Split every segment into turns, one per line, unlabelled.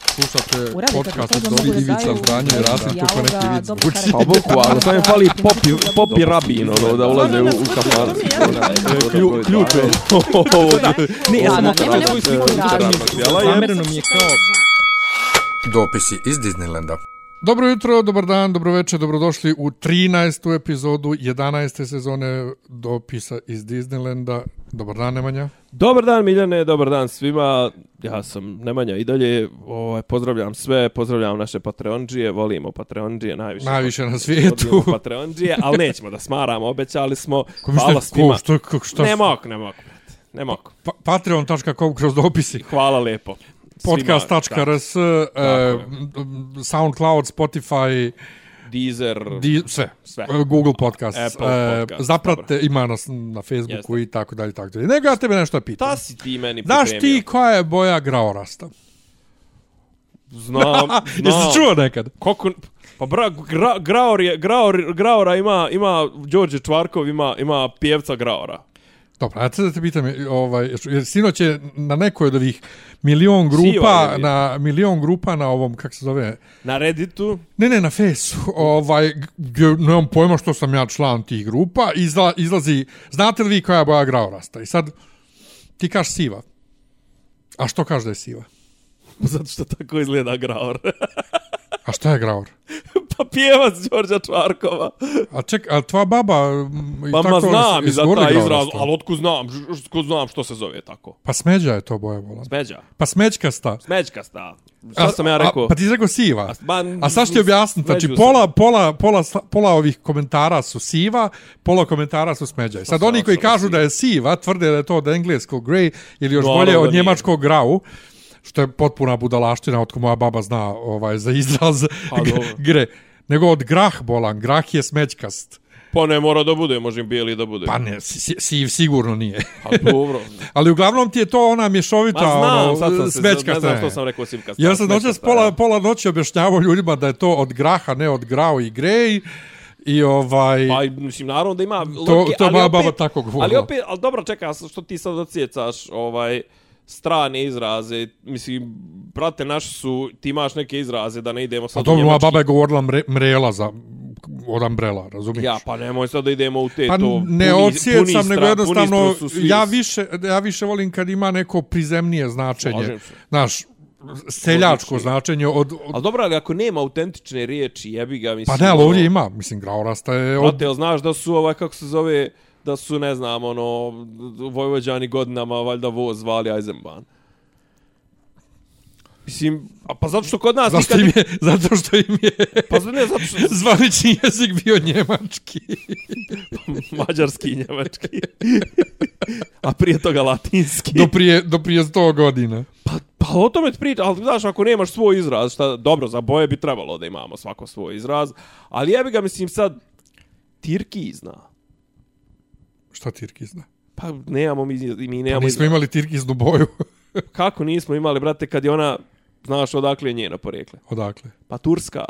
Slušate
Urade kako
podcast
kažu,
od
mogu da
Dobri Ivica
daju
Zdanje i Rasim
dijaloga,
Kuko neki vic.
dobrih
Vuči.
karakter-
Pa boku, ali sam im fali popi, popi rabin, ono, da ulaze u, u kafanu. Klju, ključ je. Ovo, da.
Ne, ja sam
Da, da,
otkrio
nema
svoju sliku
nikakvog razloga.
Instagrama. Zamereno mi je kao...
Dopisi iz Disneylanda.
Dobro jutro, dobar dan, dobro večer, dobrodošli u 13. epizodu 11. sezone dopisa iz Disneylanda. Dobar dan, Nemanja.
Dobar dan Miljane, dobar dan svima. Ja sam Nemanja i dalje. Ovaj, pozdravljam sve, pozdravljam naše Patreonđije, volimo Patreonđije najviše.
Najviše na
Volimo
svijetu.
Patreonđije, ali nećemo da smaramo, obećali smo.
Ko
Hvala
mišlja,
svima.
ko, što, ko, šta?
Ne mogu, ne mogu. brate, Ne mogu.
Pa, Patreon.com kroz dopisi.
Hvala lijepo. Svima, da,
Podcast.rs, e, m, Soundcloud, Spotify,
Deezer,
di, sve.
Sve.
E, Google Podcasts.
Apple
e,
Podcasts,
Zaprate,
dobro.
ima nas na Facebooku
Jeste.
i tako dalje, i tako dalje. Nego ja tebe nešto pitam.
Ta si ti meni
Znaš
pripremio.
ti koja je boja graorasta?
Znam, znam.
Jesi čuo nekad?
Koliko... Pa bra, gra, Graor je, Graor, Graora ima, ima, Đorđe Čvarkov ima, ima pjevca Graora.
Dobro, ja sad da te pitam, ovaj, jer sinoć je na nekoj od ovih milion
Sio je
grupa,
bio.
na milion grupa na ovom, kako se zove,
Na Redditu,
ne, ne, na fesu, ovaj, gdje nemam pojma što sam ja član tih grupa, izla, izlazi, znate li vi koja je boja graorasta? I sad, ti kaš siva. A što kaš da je siva?
zato što tako izgleda Graor.
A šta je graor?
pa pjevac Đorđa Čvarkova.
A ček, a tvoja baba... m, i
Pa ma
tako
znam i za
izgovorila
taj izraz,
graorasta?
ali otkud znam, ž- ž- otkud znam što se zove tako.
Pa smeđa je to boja bola.
Smeđa,
Pa smećkasta.
smeđkasta. Šta sam ja rekao?
A, pa ti si rekao siva.
A s- ba,
A sad ću ti objasniti, znači
smeđu sam.
pola, pola, pola, sla- pola ovih komentara su siva, pola komentara su smeđaj. Sad
sam
oni koji
ostalo
kažu
siva.
da je siva, tvrde da je to od engleskog grey ili još
Naravno
bolje
da
od
nije.
njemačkog grau, što je potpuna budalaština, otko moja baba zna ovaj, za izraz
Pa, dobro.
gre. Nego od grah bolan, grah je smećkast.
Pa ne mora da bude, može i bijeli da bude.
Pa ne, si, si, siv sigurno nije.
Pa dobro.
Ali uglavnom ti je to ona mješovita,
Ma znam, sad
ono,
sam se, ne
smećkasta.
znam što sam rekao Sivkasta.
Ja sam noćas
smećkasta,
pola,
ja.
pola noći objašnjavao ljudima da je to od graha, ne od grao i grej. I ovaj...
Pa, mislim, naravno da ima
To-
logike,
to
ali
moja
opet-
baba tako govorila.
Ali opet, ali dobro, čekaj, a što ti sad ocijecaš ovaj, strane izraze, mislim, brate, naši su, ti imaš neke izraze da ne idemo sad
Pa
u
dobro, moja
njemački.
baba je govorila mre, mrela za, od ambrela, razumiješ?
Ja, pa nemoj sad da idemo u te
pa
to.
ne
puni-
odsjecam,
puni
nego
stra-
jednostavno,
puni stru su svi-
ja više, ja više volim kad ima neko prizemnije značenje.
Slažem se.
Znaš, seljačko
Odlično.
značenje od... od
Ali dobro, ali ako nema autentične riječi, jebi ga, mislim.
pa ne, ali
ono,
ovdje ima, mislim, graorasta je od...
Brate, jel znaš da su, ovaj, kako se zove, da su, ne znam, ono, Vojvođani godinama, valjda, voz zvali Eisenbahn. Mislim, a pa zato što kod nas
Zašto
nikad
im je, zato što im je
Pa ne, zato što
zvanični jezik bio njemački.
mađarski i njemački. A prije toga latinski.
Do prije, do prije 100 godina.
Pa, pa o tome ti priča, ali znaš, ako nemaš svoj izraz, šta, dobro, za boje bi trebalo da imamo svako svoj izraz, ali jebi ga, mislim, sad, Tirki zna.
Šta Tirki zna?
Pa nemamo mi, mi nemamo
Nismo
izraz.
imali Tirkiznu boju.
Kako nismo imali, brate, kad je ona, znaš odakle je njeno porijekle?
Odakle?
Pa Turska.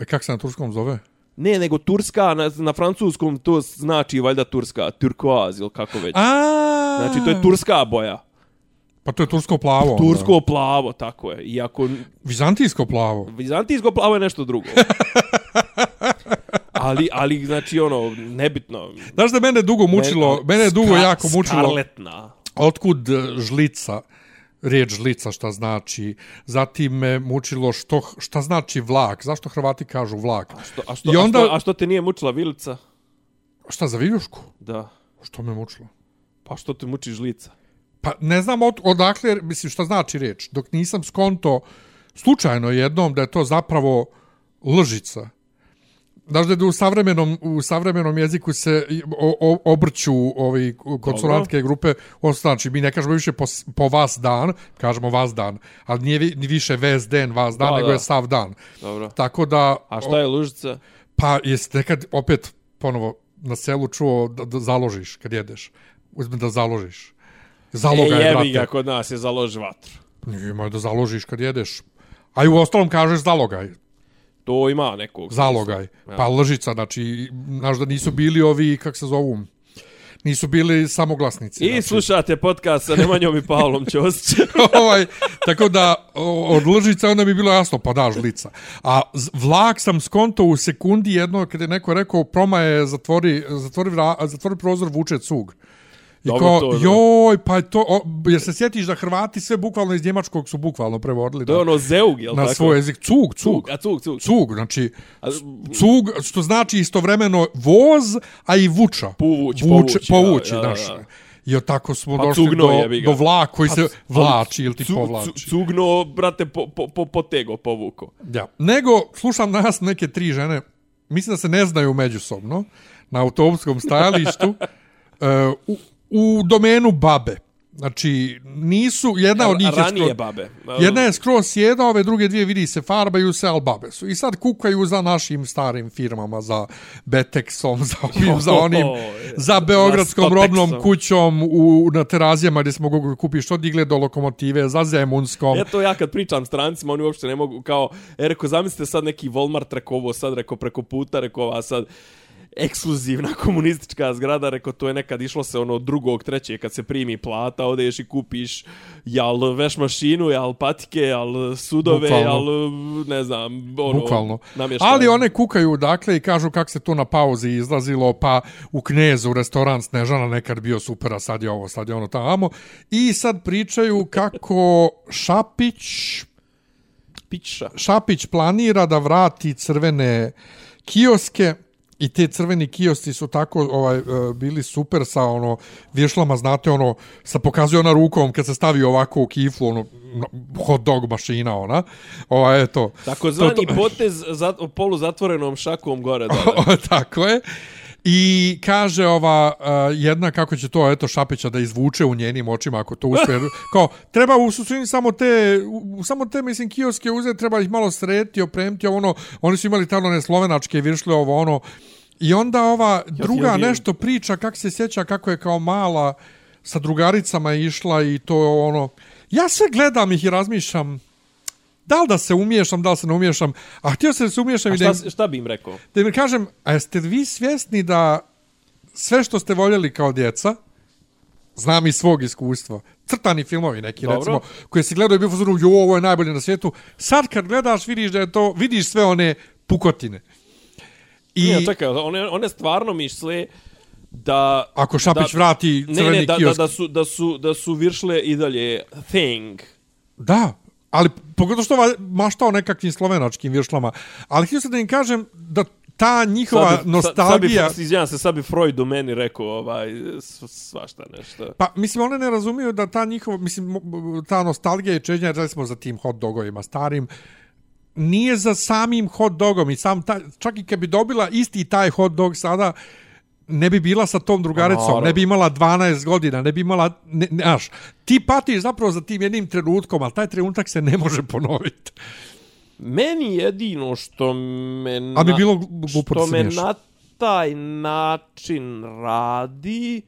E, Kako se na turskom zove?
Ne, nego Turska, na, na francuskom to znači valjda Turska, turkoaz ili kako već.
A,
Znači, to je turska boja.
Pa to je tursko plavo. onda.
Tursko plavo, tako je. Iako
Vizantijsko plavo.
Vizantijsko plavo je nešto drugo. ali, ali znači ono, nebitno.
Znaš da je mene dugo mučilo,
Ne-
mene je dugo
Ska-
jako mučilo,
Skarletna.
otkud e, žlica, riječ žlica šta znači, zatim me mučilo što, šta znači vlak, zašto Hrvati kažu vlak.
Što, a, što,
I onda,
a, što, a što te nije mučila vilica?
šta za viljušku?
Da.
Što me mučilo?
Pa što te muči žlica?
Pa ne znam od, odakle, mislim šta znači riječ, dok nisam skonto slučajno jednom da je to zapravo lžica. Znaš da je u savremenom, u savremenom jeziku se i- o, o, obrću ovi konsonantke grupe, o, znači mi ne kažemo više po, s- po vas dan, kažemo vas dan, ali nije vi- ni više vez den, vas dan,
Da,
nego
da.
je sav dan.
Dobro.
Tako da...
A šta je lužica?
Pa jesi nekad opet ponovo na selu čuo da, da založiš kad jedeš. Uzme da založiš. Zaloga
e,
je,
jebi
brate.
ga, kod nas je založi vatru.
Ima da založiš kad jedeš. A i u ostalom kažeš zalogaj,
To ima nekog.
zalogaj. Pa lžica, znači, znaš da nisu bili ovi, kak se zovu, nisu bili samoglasnici.
I slušate podcast sa Nemanjom i Pavlom Ćosićem.
ovaj, tako da o- od lžica onda mi bilo jasno, pa da, žlica. A z- vlak sam skonto u sekundi jedno kada je neko rekao proma je zatvori, zatvori, vra- zatvori prozor, vuče cug. I
Dobro
kao,
to, da.
joj, pa je to, o, jer se sjetiš da Hrvati sve bukvalno iz njemačkog su bukvalno prevodili
To je
na,
ono Zeug, jel
na
tako?
svoj jezik. Cug, cug.
Cug, a cug, cug.
Cug, znači,
A-
cug, što znači istovremeno voz, a i vuča.
Povuć, povuć, da,
povući,
da, da,
znaš.
da.
I od tako smo
Pa
došli
cugno,
do,
jebi ga. Pa
do vlak koji se vlači ili ti
Cu- cu-
povlači.
Cugno, brate, po, po, po, potego, povuko.
Ja. Nego, slušam nas neke tri žene, mislim da se ne znaju međusobno, na autobuskom stajalištu, e, u, u domenu babe. Znači, nisu, jedna od njih je
Ranije
skroz-
babe.
Jedna je skroz sjeda, ove druge dvije vidi se farbaju se, al babe su. I sad kukaju za našim starim firmama, za Betexom, za ovim, za onim,
Joj.
za Beogradskom
Za
robnom
Stotexom.
kućom u, na terazijama gdje smo mogli kupiš od igle do lokomotive, za Zemunskom.
Ja to ja kad pričam strancima, oni uopšte ne mogu kao, e, reko, zamislite sad neki Walmart, reko ovo sad, reko preko puta, reko ova sad ekskluzivna komunistička zgrada, reko to je nekad išlo se ono drugog, trećeg, kad se primi plata, odeš i kupiš jal veš mašinu, jal patike, jal sudove,
Bukvalno.
jal ne znam, ono,
Bukvalno.
namještaje.
Ali one kukaju dakle i kažu kak se to na pauzi izlazilo, pa u Knezu, u restoran Snežana nekad bio super, a sad je ovo, sad je ono tamo. I sad pričaju kako Šapić,
Pića.
Šapić planira da vrati crvene kioske i te crveni kiosci su tako ovaj e, bili super sa ono vješlama znate ono sa pokazuje ona rukom kad se stavi ovako u kifu ono no, hot dog mašina ona ovaj eto
Takozvani to, to... potez zat, poluzatvorenom šakom gore dole.
Tako je. I kaže ova uh, jedna kako će to eto Šapića da izvuče u njenim očima ako to uspije. Kao treba u suštini samo te u, u- samo te mislim kioske uzeti, treba ih malo srediti, opremiti ovo, ono. Oni su imali tamo ne slovenačke viršle ovo ono. I onda ova druga
jel, jel.
nešto priča kako se sjeća kako je kao mala sa drugaricama išla i to je ono. Ja sve gledam ih i razmišljam da li da se umiješam, da li se ne umiješam, a htio sam da se umiješam
A
i da im
šta, šta bi im rekao?
da mi kažem, a jeste vi svjesni da sve što ste voljeli kao djeca, znam iz svog iskustva, crtani filmovi neki,
Dobro.
Dobro. recimo, koje si gledao i bio u fazonu, jo, ovo je najbolje na svijetu, sad kad gledaš vidiš da je to, vidiš sve one pukotine. I
I... Ne, čekaj, one, one stvarno misle da...
ako Šapić
da,
vrati
Ne,
crveni
ne, da, da,
kiosk,
da, su, da, su, da su viršle i dalje thing.
Da, ali pogotovo što va- maštao nekakvim slovenačkim vješlama. Ali htio sam da im kažem da ta njihova
Sad bi-
nostalgija...
Sad, sad bi, izvinjam se, sad bi Freud u meni rekao ovaj, s- svašta nešto.
Pa, mislim, one ne razumiju da ta njihova, mislim, mo- ta nostalgija i čežnja, recimo, za tim hot dogovima starim, nije za samim hot dogom i sam ta, čak i kad bi dobila isti taj hot dog sada, ne bi bila sa tom drugaricom,
Naravno.
ne bi imala 12 godina, ne bi imala, ne, ne, znaš, ti patiš zapravo za tim jednim trenutkom, ali taj trenutak se ne može ponoviti.
Meni jedino što me... Na,
Ali bi bilo glupo da
Što
se
me
miješa.
na taj način radi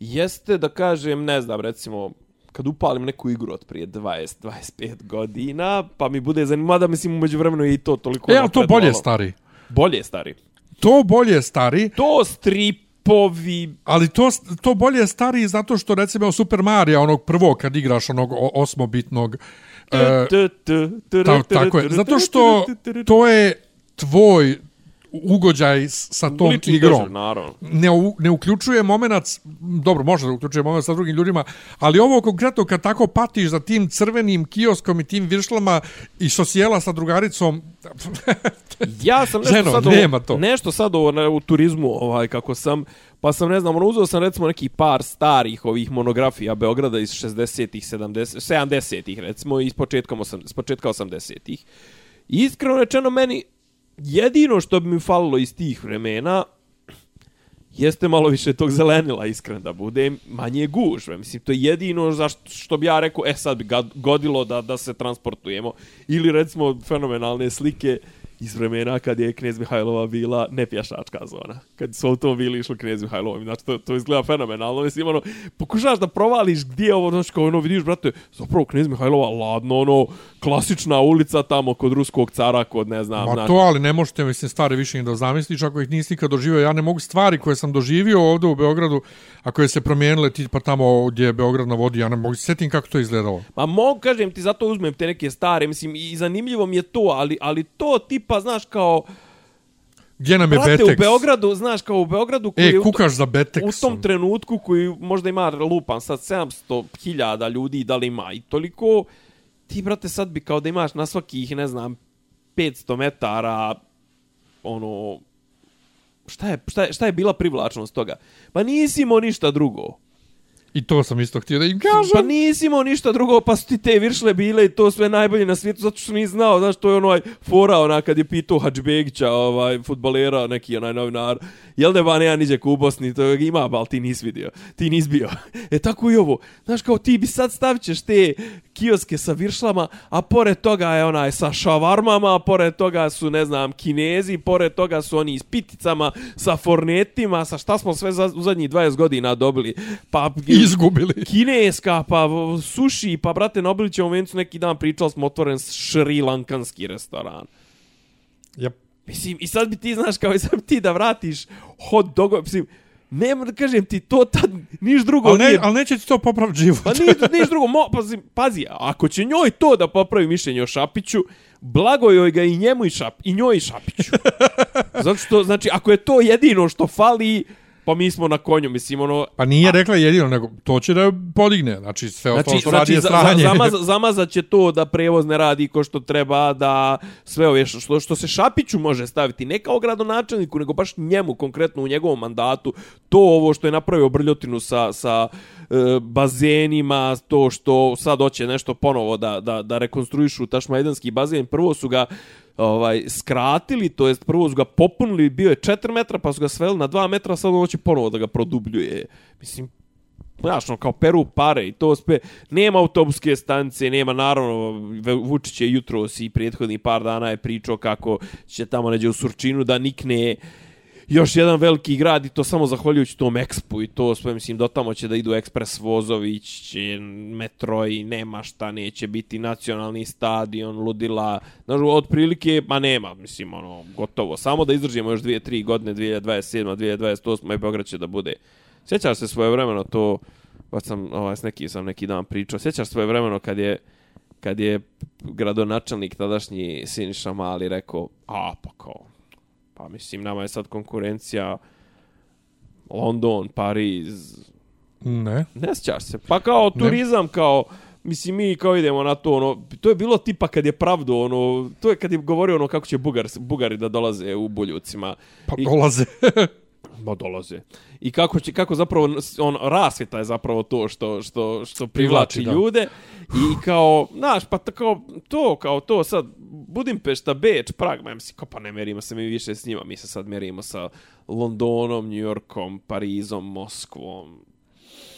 jeste da kažem, ne znam, recimo, kad upalim neku igru od prije 20-25 godina, pa mi bude zanimljivo, da mislim umeđu vremenu je i Ono to toliko
E, ali to bolje
napredovalo.
stari.
Bolje stari.
To bolje stari,
To stripovi...
Ali to, to bolje stari zato što recimo Super Mario, onog prvog kad igraš onog o- osmobitnog, e,
T, t, t,
ta,
t,
tako
t,
je.
t,
Zato
t,
što
t, t, t, t,
to je tvoj ugođaj s- sa tom
Lični doživljaj,
igrom.
Naravno.
Ne, u, ne uključuje momenac, dobro, može da uključuje momenac sa drugim ljudima, ali ovo konkretno kad tako patiš za tim crvenim kioskom i tim viršlama i sosijela sa drugaricom,
Ja sam nešto
Ženo,
sad
nema
ovo,
to.
nešto sad ovo ne, u turizmu ovaj kako sam pa sam ne znam, ono, uzeo sam recimo neki par starih ovih monografija Beograda iz 60-ih, 70-ih, 70-ih recimo i s početkom 80 s početka 80-ih. I iskreno rečeno meni jedino što bi mi falilo iz tih vremena jeste malo više tog zelenila, iskren da budem, manje gužve. Mislim, to je jedino zašto, što bi ja rekao, e sad bi ga- godilo da, da se transportujemo. Ili recimo fenomenalne slike iz vremena kad je Knez Mihajlova bila nepjašačka zona. Kad su automobili išli Knez Mihajlovom. Znači, to, to izgleda fenomenalno. Mislim, ono, pokušaš da provališ gdje je ovo, znači, kao ono, vidiš, brate, zapravo Knez Mihajlova, ladno, ono, klasična ulica tamo kod ruskog cara, kod, ne znam,
Ma
znaš,
to, ali ne možete, mislim, stare više ni da zamisliš ako ih nisi nikad doživio. Ja ne mogu stvari koje sam doživio ovdje u Beogradu, a koje se promijenile ti pa tamo gdje je Beograd na vodi, ja ne mogu se sjetim kako to izgledalo.
Ma mogu, kažem ti, zato uzmem te neke stare, mislim, i zanimljivo mi je to, ali, ali to tipa, znaš, kao,
Gdje nam je
brate, u
Betex?
Beogradu, znaš, kao u Beogradu koji je
E,
u to-
kukaš ono. za
u
Betexom.
tom trenutku koji možda ima lupan sad 700.000 ljudi da li ima i toliko ti brate sad bi kao da imaš na svakih ne znam 500 metara ono šta je, šta je, šta je bila privlačnost toga pa nisi imao ništa drugo
I to sam isto htio da im kažem.
Pa nisi imao ništa drugo, pa su ti te viršle bile i to sve najbolje na svijetu, zato što nisi znao, znaš, to je onaj fora, ona kad je pitao Hadžbegića, ovaj, futbalera, neki onaj novinar, jel ne van ja niđe ku u Bosni, to ga ima, ali ti nisi vidio, ti nisi bio. E tako i ovo, znaš, kao ti bi sad stavit ćeš te kioske sa viršlama, a pored toga je onaj sa šavarmama, a pored toga su, ne znam, kinezi, pored toga su oni s piticama, sa fornetima, sa šta smo sve za, u zadnjih 20 godina dobili. Pa,
Izgubili.
kineska, pa v- sushi, pa brate, na Obilićevom vencu neki dan pričali smo otvoren šrilankanski restoran.
Yep.
Mislim, i sad bi ti, znaš, kao i sad bi ti da vratiš hot dog, mislim, ne moram da kažem ti, to tad niš drugo
Ali, ne,
Pa nije...
ali neće ti to popraviti život.
Pa nije, niš drugo, mo, pa, zi- pazi, ako će njoj to da popravi mišljenje o Šapiću, blago joj ga i njemu i, šap, i njoj i Šapiću. Zato što, znači, ako je to jedino što fali, pa mi smo na konju, mislim, ono,
Pa nije rekla jedino, nego to će da je podigne. Znači, sve znači, ostalo
Znači,
što radi
znači
je
za, za,
sranje.
zamaz, zamazat će to da prevoz ne radi ko što treba, da sve ove što- što, što se Šapiću može staviti, ne kao gradonačelniku, nego baš njemu, konkretno u njegovom mandatu, to ovo što je napravio brljotinu sa, sa e, bazenima, to što sad hoće nešto ponovo da, da, da rekonstruišu Tašmajdanski bazen, prvo su ga ovaj skratili, to jest prvo su ga popunili, bio je 4 metra, pa su ga sveli na 2 metra, sad hoće ponovo da ga produbljuje. Mislim, Znaš, ono, kao peru pare i to sve. Nema autobuske stanice, nema, naravno, Ve- Vučić je jutros i prethodni par dana je pričao kako će tamo neđe u Surčinu da nikne još jedan veliki grad i to samo zahvaljujući tom ekspu i to sve, mislim, do tamo će da idu ekspres vozović, će metro i nema šta, neće biti nacionalni stadion, ludila, znaš, otprilike, ma nema, mislim, ono, gotovo. Samo da izdržimo još 2-3 godine, 2027. 2028. i Beograd će da bude. Sjećaš se svoje vremeno to, baš sam, ovaj, s neki sam neki dan pričao, sjećaš svoje vremeno kad je kad je gradonačelnik tadašnji Siniša Mali rekao, a pa kao, Pa mislim, nama je sad konkurencija London, Pariz,
Ne.
ne sjećaš se. Pa kao turizam, kao, mislim, mi kao idemo na to, ono, to je bilo tipa kad je pravdo, ono, to je kad je govorio ono kako će Bugar, Bugari da dolaze u Buljucima.
Pa
I-
dolaze.
Ma dolaze. I kako će kako zapravo on rasvjeta je zapravo to što što što privlači
Privlači, da.
ljude i kao, znaš, pa tako to kao to sad Budimpešta, Beč, Prag, ma mislim, kao pa ne merimo se mi više s njima, mi se sad merimo sa Londonom, Njujorkom, Parizom, Moskvom,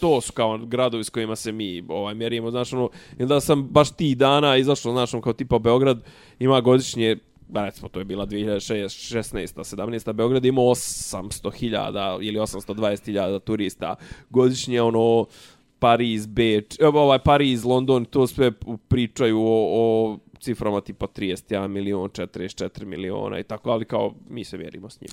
to su kao gradovi s kojima se mi ovaj mjerimo, znaš, ono, ili da sam baš ti dana izašao, znaš, ono, kao tipa Beograd ima godišnje, ba, recimo, to je bila 2016. 17. Beograd je imao 800.000 ili 820.000 turista godišnje, ono, Pariz, Beč, e, ovaj, Pariz, London, to sve pričaju o, o ciframa tipa 31 milion, 44 miliona i tako, ali kao mi se mjerimo s njima.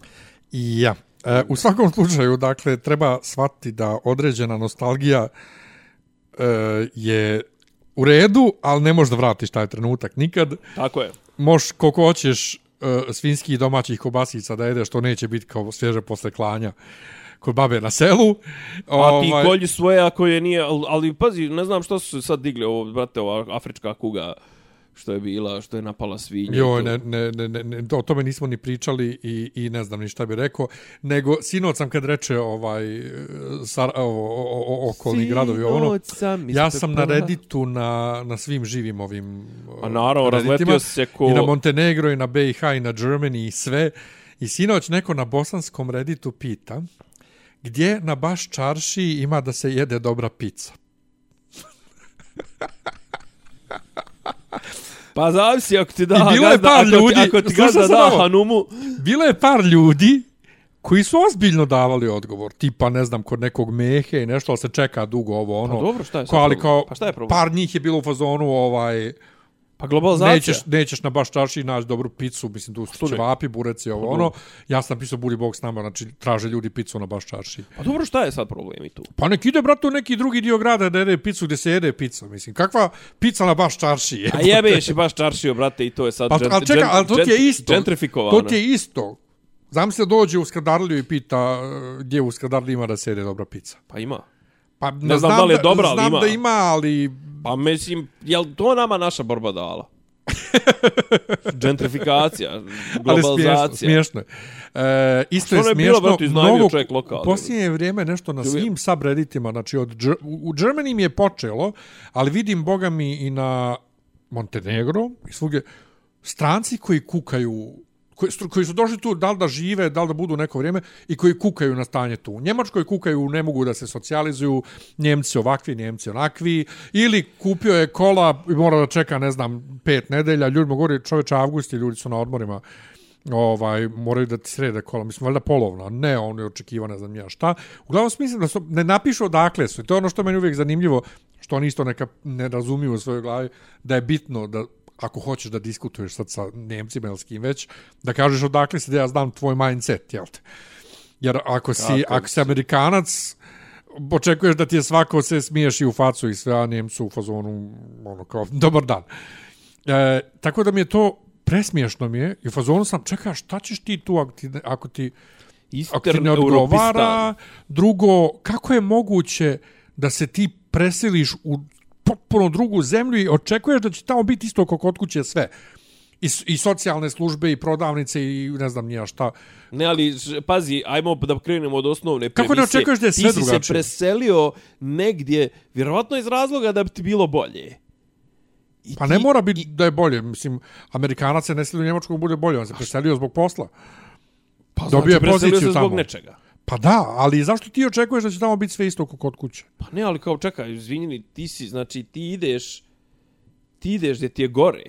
Ja. E, u svakom slučaju, dakle, treba shvatiti da određena nostalgija e, je u redu, ali ne možeš da vratiš taj trenutak nikad.
Tako je.
Moš koliko hoćeš e, svinskih i domaćih kobasica da jedeš, to neće biti kao svježe posle klanja kod babe na selu. Ovaj,
A ti kolji svoje ako je nije, ali, ali pazi, ne znam što su se sad digli ovo, brate, ova afrička kuga što je bila, što je napala svinje. i
Joj,
to.
ne, ne, ne, ne, ne, o tome nismo ni pričali i, i ne znam ni šta bi rekao, nego sinoć sam kad reče ovaj, e, sar, o, o, o, okolni gradovi, ono,
Sinoć sam
ja sam na
istrpala-
Redditu na, na svim živim ovim
A naravno,
e, Redditima,
razletio si se ko-
i na Montenegro i na BiH i na Germany i sve i sinoć neko na bosanskom Redditu pita gdje na baš čarši ima da se jede dobra pizza
Pa zavisi ako ti da
I bilo je
gazda,
par
ako, ti-
ljudi-
ako ti
slušao
gazda
sam
da
ovo.
Hanumu,
Bilo je par ljudi koji su ozbiljno davali odgovor, tipa, ne znam, kod nekog mehe i nešto, ali se čeka dugo ovo, ono.
Pa dobro, šta je sad
Ko, ali
problem?
kao,
Pa šta je problem?
Par njih je bilo u fazonu, ovaj,
pa globalizacija.
nećeš, nećeš na baš čaši naći dobru picu, mislim, tu su
ne?
ćevapi, bureci,
Pa
ovo, ono. Ja sam pisao Bully Box nama, znači, traže ljudi picu na baš čaši.
Pa dobro, šta je sad problem i tu?
Pa nek ide, brate, u neki drugi dio grada da jede picu gdje se jede pica, mislim. Kakva pica na baš čarši je?
A jebeš i baš čaršio, brate, i to je sad
Pa,
džent-
ali čeka,
džent-
ali to ti je
džent-
isto.
Gentrifikovano.
To ti je isto. Znam se dođe u Skradarliju i pita e, gdje u Skradarliju ima da se jede dobra pizza.
Pa ima.
Pa ne,
znam da li je dobra, ali
znam
ima.
da ima, ali
Pa mislim, jel to nama naša borba dala? Gentrifikacija,
ali smiješno,
globalizacija.
smiješno. je. E, isto je
ono je
smiješno.
bilo, brate, iznajmio čovjek lokal,
U posljednje vrijeme nešto na svim subredditima, znači od, Dž- u Germany mi je počelo, ali vidim, boga mi, i na Montenegro i svugdje, stranci koji kukaju koji, stru- koji su došli tu da li da žive, da li da budu neko vrijeme i koji kukaju na stanje tu. U Njemačkoj kukaju, ne mogu da se socijalizuju, Njemci ovakvi, Njemci onakvi, ili kupio je kola i mora da čeka, ne znam, pet nedelja, ljudima govori, čoveče, avgust je, ljudi su na odmorima, ovaj moraju da ti srede kola, mislim, valjda polovno, ne, ono je očekivano, ne znam ja šta. Uglavnom, mislim da su, ne napišu odakle su, i to je ono što je meni uvijek zanimljivo, što oni isto neka ne razumiju u svojoj glavi, da je bitno da ako hoćeš da diskutuješ sad sa Nemcima ili s kim već, da kažeš odakle si da ja znam tvoj mindset, jel te? Jer ako si,
Kako
ako si Amerikanac, očekuješ da ti je svako se smiješi u facu i sve, a Njemcu u fazonu, ono kao, dobar dan. E, tako da mi je to presmiješno mi je i u fazonu sam, čekaj, a šta ćeš ti tu ako ti, ne- ako ti, ako ti
Istern
ne
Europistan.
odgovara? Drugo, kako je moguće da se ti preseliš u potpuno drugu zemlju i očekuješ da će tamo biti isto kako kod kuće sve? I, s- i socijalne službe i prodavnice i ne znam nija šta.
Ne, ali ž- pazi, ajmo da krenemo od osnovne
Kako ne
premise.
očekuješ da je sve
Ti si se
drugačije?
preselio negdje, vjerovatno iz razloga da bi ti bilo bolje. I
Pa ne
ti-
mora biti da je bolje, mislim, Amerikanac se ne seli u Njemačku bude bolje, on se preselio zbog posla.
pa,
dobio je
preselio
poziciju
se zbog
tamo.
nečega.
Pa da, ali zašto ti očekuješ da će tamo biti sve isto kako kod kuće?
Pa ne, ali kao čekaj, izvinjeni, ti si, znači ti ideš, ti ideš gdje ti je gore.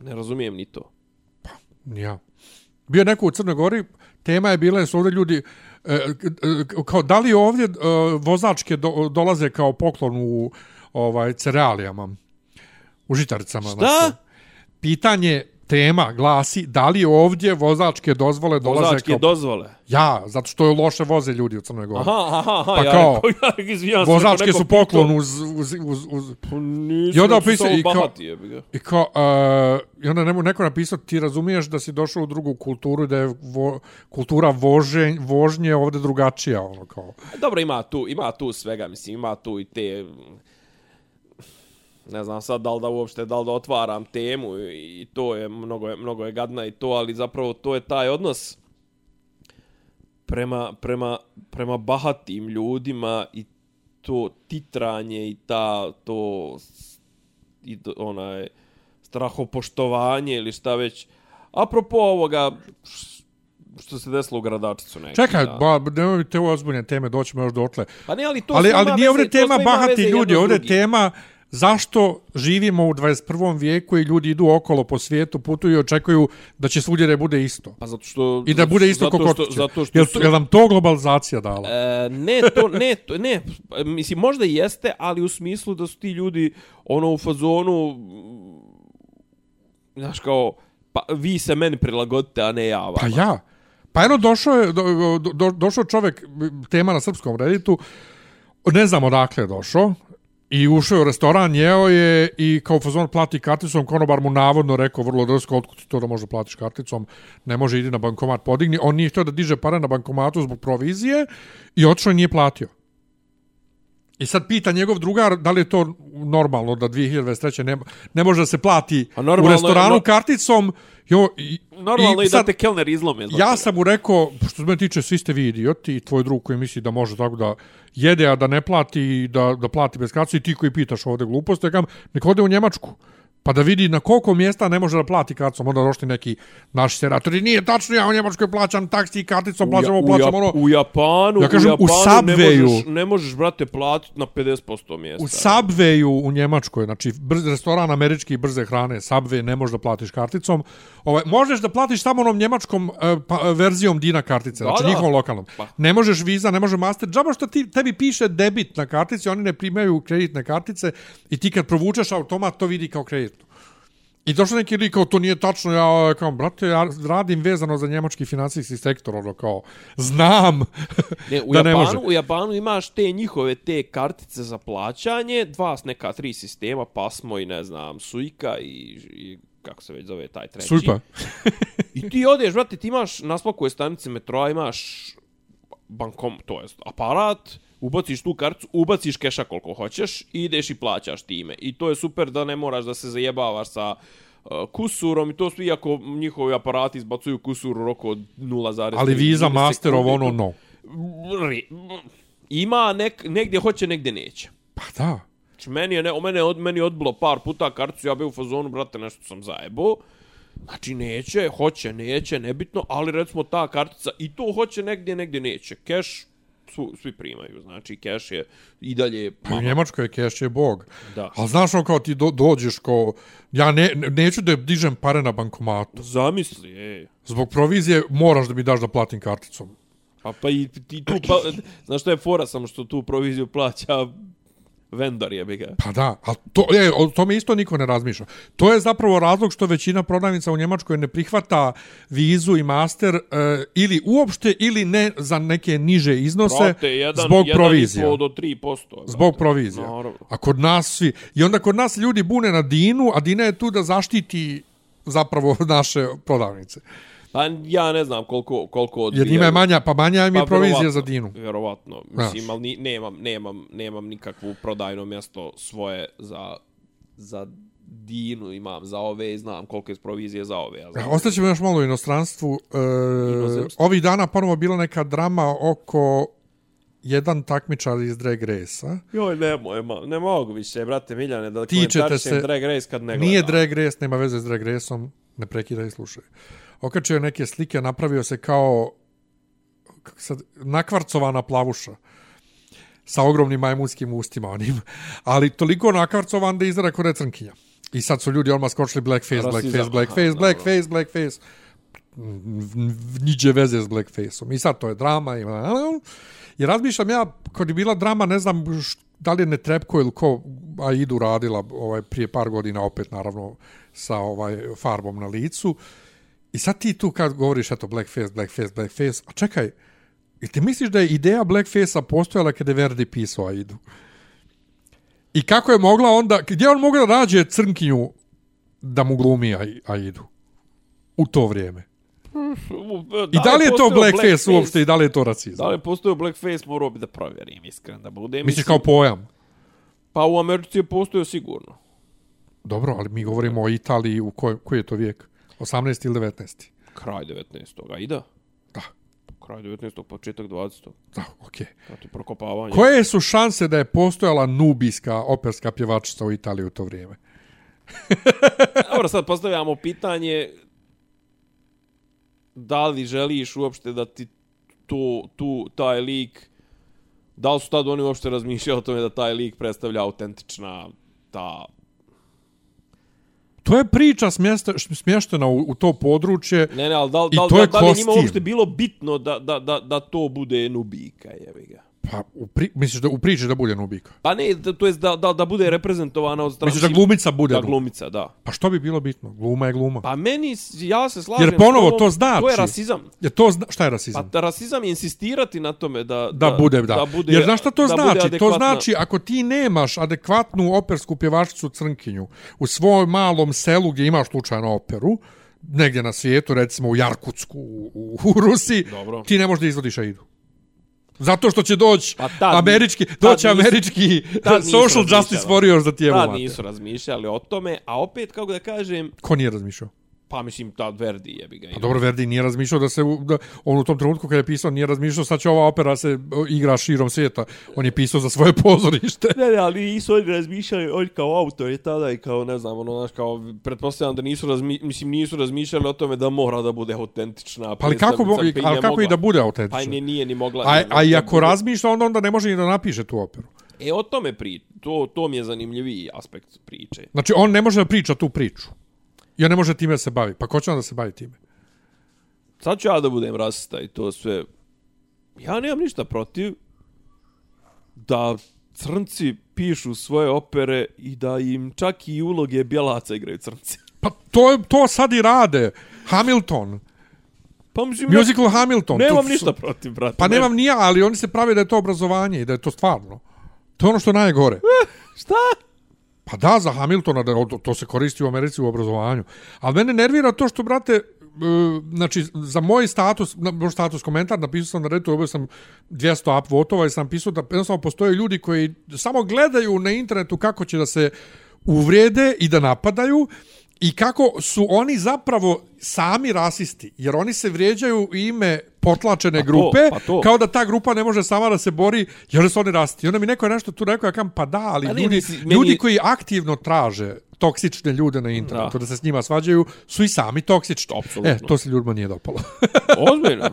Ne razumijem ni to.
Ja. Bio je neko u Crnoj Gori, tema je bila, jer su ovdje ljudi, e, k- e, kao da li ovdje e, vozačke do, dolaze kao poklon u ovaj, cerealijama, u žitaricama. znači. Pitanje tema glasi da li ovdje vozačke dozvole dolaze
Vozačke
kao...
Znači, dozvole.
Ja, zato što je loše voze ljudi u Crnoj Gori.
Aha, aha, aha,
Pa
ja,
kao,
ja, izvinjam se,
Vozačke
neko
su
pitao.
poklon uz, uz, uz, uz,
Pa nisam,
I onda
nisam
opisa-
samo
i kao-
bahati, jebi ga.
I kao, uh, i onda nemo, neko napisao, ti razumiješ da si došao u drugu kulturu, i da je vo, kultura vože, vožnje ovdje drugačija, ono kao.
Dobro, ima tu, ima tu svega, mislim, ima tu i te... mm, Ne znam sad da li da uopšte, da li da otvaram temu i i to je, mnogo je, mnogo je gadna i to, ali zapravo to je taj odnos prema, prema, prema bahatim ljudima i to titranje i ta, to s- i do- onaj strahopoštovanje ili šta već. Apropo ovoga š- što se desilo u Gradačicu neki
Čekaj,
dan.
ba, nemoj mi te u ozbiljne teme, doćemo još dotle.
Pa ne, ali to
Ali,
sve
ali
ima
nije
veze,
ovdje
to sve
tema
ima
bahati
veze
ljudi,
jedno s
ovdje je
drugim.
tema zašto živimo u 21. vijeku i ljudi idu okolo po svijetu, putuju i očekuju da će svugdje da bude isto.
Pa zato što...
I da bude isto
zato
kako
što-
kod kuće.
Zato što...
Jel,
su-
jel nam to globalizacija dala?
E, ne, to, ne, to, ne, mislim, možda i jeste, ali u smislu da su ti ljudi, ono, u fazonu, mm, znaš, kao, pa vi se meni prilagodite, a ne ja vama.
Pa ja. Pa eno došao je do, do, do, došao čovjek tema na srpskom Redditu. Ne znam odakle je došao. I ušao je u restoran, jeo je i kao fazon plati karticom, konobar mu navodno rekao vrlo drsko, otkud ti to da možda platiš karticom, ne može idi na bankomat, podigni. On nije htio da diže pare na bankomatu zbog provizije i otišao i nije platio. I sad pita njegov drugar da li je to normalno da 2023. ne, ne može da se plati
A normalno
u
je-
restoranu
no-
karticom. Jo, i,
Normalno i, da
sad-
te kelner izlome. znači. zbog
Ja
toga.
sam mu rekao, što se mene tiče, svi ste vi idioti i tvoj drug koji misli da može tako da jede, a da ne plati, i da, da plati bez kartice i ti koji pitaš ovde glupost, ja kam, nek ode u Njemačku. pa da vidi na koliko mjesta ne može da plati karticom, onda došli neki naši seratori, nije tačno, ja u Njemačkoj plaćam taksi i karticom, plaćam ovo,
u,
plaćam
Jap-
ono.
u Japanu,
Ja kažem,
u
u
Japanu ne,
Subwayu.
možeš, ne možeš, brate, platit na 50% mjesta.
U Subwayu u Njemačkoj, znači brz, restoran američki brze hrane, Subway ne možeš da platiš karticom. Ovaj, možeš da platiš samo onom njemačkom eh, pa, eh, verzijom Dina kartice,
Da,
znači
da.
njihovom lokalnom.
Pa.
Ne možeš Visa, ne može Master, džaba što ti, tebi piše debit na kartici, oni ne primaju kreditne kartice i ti kad provučeš automat to vidi kao kreditno. I došao neki lik kao, to nije tačno, ja ovaj, kao, brate, ja radim vezano za njemački financijski sektor, ono kao, znam
Ne, u,
da ne može.
Japanu, u Japanu imaš te njihove te kartice za plaćanje, dva s neka tri sistema, Pasmo i ne znam, Suika i, i kako se već zove taj treći.
Suipa.
Znači, I ti odeš, brate, ti imaš na svakoj stanici metroa, imaš bankom, to jest aparat, ubaciš tu karticu, ubaciš keša koliko hoćeš i ideš i plaćaš time. I to je super da ne moraš da se zajebavaš sa uh, kusurom i to su iako njihovi aparati izbacuju kusur u roku od 0,3
Ali Visa, Master, ovo ono, no.
Ri- ima nek, negdje hoće, negdje neće.
Pa da.
Znači, meni je, ne, o mene, od, meni je odbilo par puta karticu, ja bi u fazonu, brate, nešto sam zajebo. Znači, neće, hoće, neće, nebitno, ali recimo ta kartica i to hoće negdje, negdje neće. Keš, svu, svi primaju, znači, keš je i dalje...
Pa u Njemačkoj je keš je bog.
Da.
Ali znaš ono kao ti do, dođeš kao, ja ne, ne- neću da dižem pare na bankomatu.
Zamisli, e. ej.
Zbog provizije moraš da mi daš da platim karticom.
Pa, pa i ti tu... Pa, znaš što je fora samo što tu proviziju plaća vendor je bi ga.
Pa da, ali to, je, o tome isto niko ne razmišlja. To je zapravo razlog što većina prodavnica u Njemačkoj ne prihvata vizu i master e, ili uopšte ili ne za neke niže iznose
Brate, jedan,
Pa, zbog
jedan
provizija.
i pol do 3%.
Zbog provizija.
Naravno.
A kod nas svi... I onda kod nas ljudi bune na Dinu, a Dina je tu da zaštiti zapravo naše prodavnice.
Pa ja ne znam koliko, koliko odbijaju.
Jer njima je manja, pa manja im je
Pa,
provizija
verovatno,
za Dinu.
Vjerovatno.
Znaš.
Mislim, ali ni, nemam, nemam, nemam nikakvu prodajno mjesto svoje za, za dinu imam za ove, znam koliko je provizije za ove. Ja znam.
E, Ostaćemo još malo u inostranstvu. E,
Inozemstvu.
ovih dana ponovo bila neka drama oko jedan takmičar iz Drag Race-a.
Joj, nemoj, ma, ne mogu više, brate Miljane, da
Tičete
komentarišem
se-
Drag Race kad ne
Nije
gledam.
Drag Race, nema veze s Drag Race-om, ne prekidaj i slušaj. Okačio je neke slike, napravio se kao kako sad, nakvarcovana plavuša sa ogromnim majmunskim ustima onim, ali toliko nakvarcovan da izgleda kao recrnkinja. I sad su ljudi odmah skočili blackface,
Rasizam,
blackface,
aha,
blackface, blackface, blackface. Niđe veze s blackface-om. I sad to je drama. I, I razmišljam ja, kad je bila drama, ne znam š, da li je Netrebko ili ko Aidu radila ovaj, prije par godina, opet naravno sa ovaj farbom na licu. I sad ti tu kad govoriš, eto, blackface, blackface, blackface, a čekaj, i ti misliš da je ideja blackface-a postojala kada je Verdi pisao Aidu? I kako je mogla onda, gdje je on mogao da nađe crnkinju da mu glumi Ai- Aidu? U to vrijeme. I da li je to
postojao
blackface, uopšte i da li je to rasizam?
Da li je postojao blackface, morao bi da provjerim, iskren da budem.
Misliš kao pojam?
Pa u Americi je postojao sigurno.
Dobro, ali mi govorimo o Italiji u koj, koji je to vijek? 18. ili 19.
Kraj 19. I da?
Da.
Kraj 19. početak 20.
Da, okej.
Znači, prokopavanje.
Koje su šanse da je postojala nubijska operska pjevačica u Italiji u to vrijeme?
Dobro, sad postavljamo pitanje da li želiš uopšte da ti to, tu, taj lik da li su tad oni uopšte razmišljali o tome da taj lik predstavlja autentična ta...
To je priča smjesta, smještena u, u to područje.
Ne, ne, ali da, li-
I
da, li-
to
da,
je
da li je njima
kostim.
uopšte bilo bitno da, da, da, da to bude nubika, jevi ga.
Pa, u pri, misliš da u priči da bude nubika?
Pa ne, da, to jest da, da, da bude reprezentovana od strane...
Misliš da glumica bude
Da,
nubika?
glumica, da.
Pa što bi bilo bitno? Gluma je gluma.
Pa meni, s- ja se slažem...
Jer ponovo,
s tobom,
to znači-
To je rasizam.
Je to zna, šta je rasizam?
Pa da rasizam je insistirati na tome da...
da, bude, da.
da bude
Jer znaš šta to
da bude
znači? To
adekvatna-
znači ako ti nemaš adekvatnu opersku pjevačicu Crnkinju u svojom malom selu gdje imaš slučajno operu, negdje na svijetu, recimo u Jarkutsku, u, u- u Rusiji,
Dobro.
ti ne možeš da izvodiš Aidu. Zato što će doći
Pa tad-
američki,
tad
doći
nisu-
američki
tad nisu
social justice
razmišljala.
warriors da ti je
Tad
mate.
nisu razmišljali o tome, a opet, kako da kažem,
Ko nije razmišljao?
Pa mislim, ta Verdi jebi ga.
Pa dobro, Verdi nije razmišljao da se, u- da, on u tom trenutku kad je pisao nije razmišljao sad će ova opera se o, igra širom svijeta. On je pisao za svoje pozorište. Pa
Ne, ne, ali nisu oni razmišljali, on kao autor je tada i kao, ne znam, ono, znaš, kao, pretpostavljam da nisu, razmi, mislim, nisu razmišljali o tome da mora da bude autentična.
Pa ali kako, bo,
predstavnica, pa i
ali
nije
kako i da
mogla.
bude
Pa i
autentično?
nije, nije ni mogla.
A,
ni mogla
a i
da
ako
bude.
razmišlja, onda, onda ne može ni da napiše tu operu.
E, o tome pri, to, to mi je zanimljiviji aspekt priče.
Znači, on ne može da priča tu priču. Ja ne može time da se bavi. Pa ko će onda da se bavi time?
Sad ću ja da budem rasista i to sve. Ja nemam ništa protiv da crnci pišu svoje opere i da im čak i uloge bjelaca igraju crnci.
Pa to, je- to sad i rade. Hamilton.
Pa mislim, ne-
Musical Hamilton. To
nemam
su-
ništa protiv, brate.
Pa
Ne-
nemam ni ja, ali oni se prave da je to obrazovanje i da je to stvarno. To je ono što je najgore.
Šta?
Pa da, za Hamiltona, da, to- to se koristi u Americi u obrazovanju. Ali mene nervira to što, brate, e, znači, za moj status, na- moj status komentar, napisao sam na retu, dobio sam 200 upvotova i sam pisao da jednostavno postoje ljudi koji samo gledaju na internetu kako će da se uvrijede i da napadaju i kako su oni zapravo sami rasisti, jer oni se vrijeđaju u ime potlačene
to,
grupe,
pa to.
kao da ta grupa ne može sama da se bori, jer su oni rasisti. I onda mi neko je nešto tu rekao, ja kam, pa da, ali
Ali
ljudi,
nisi- meni-
ljudi koji aktivno traže toksične ljude na internetu, da,
Da.
da se s njima svađaju, su i sami toksični.
Apsolutno.
E, to se ljudima nije dopalo.
Ozbiljno.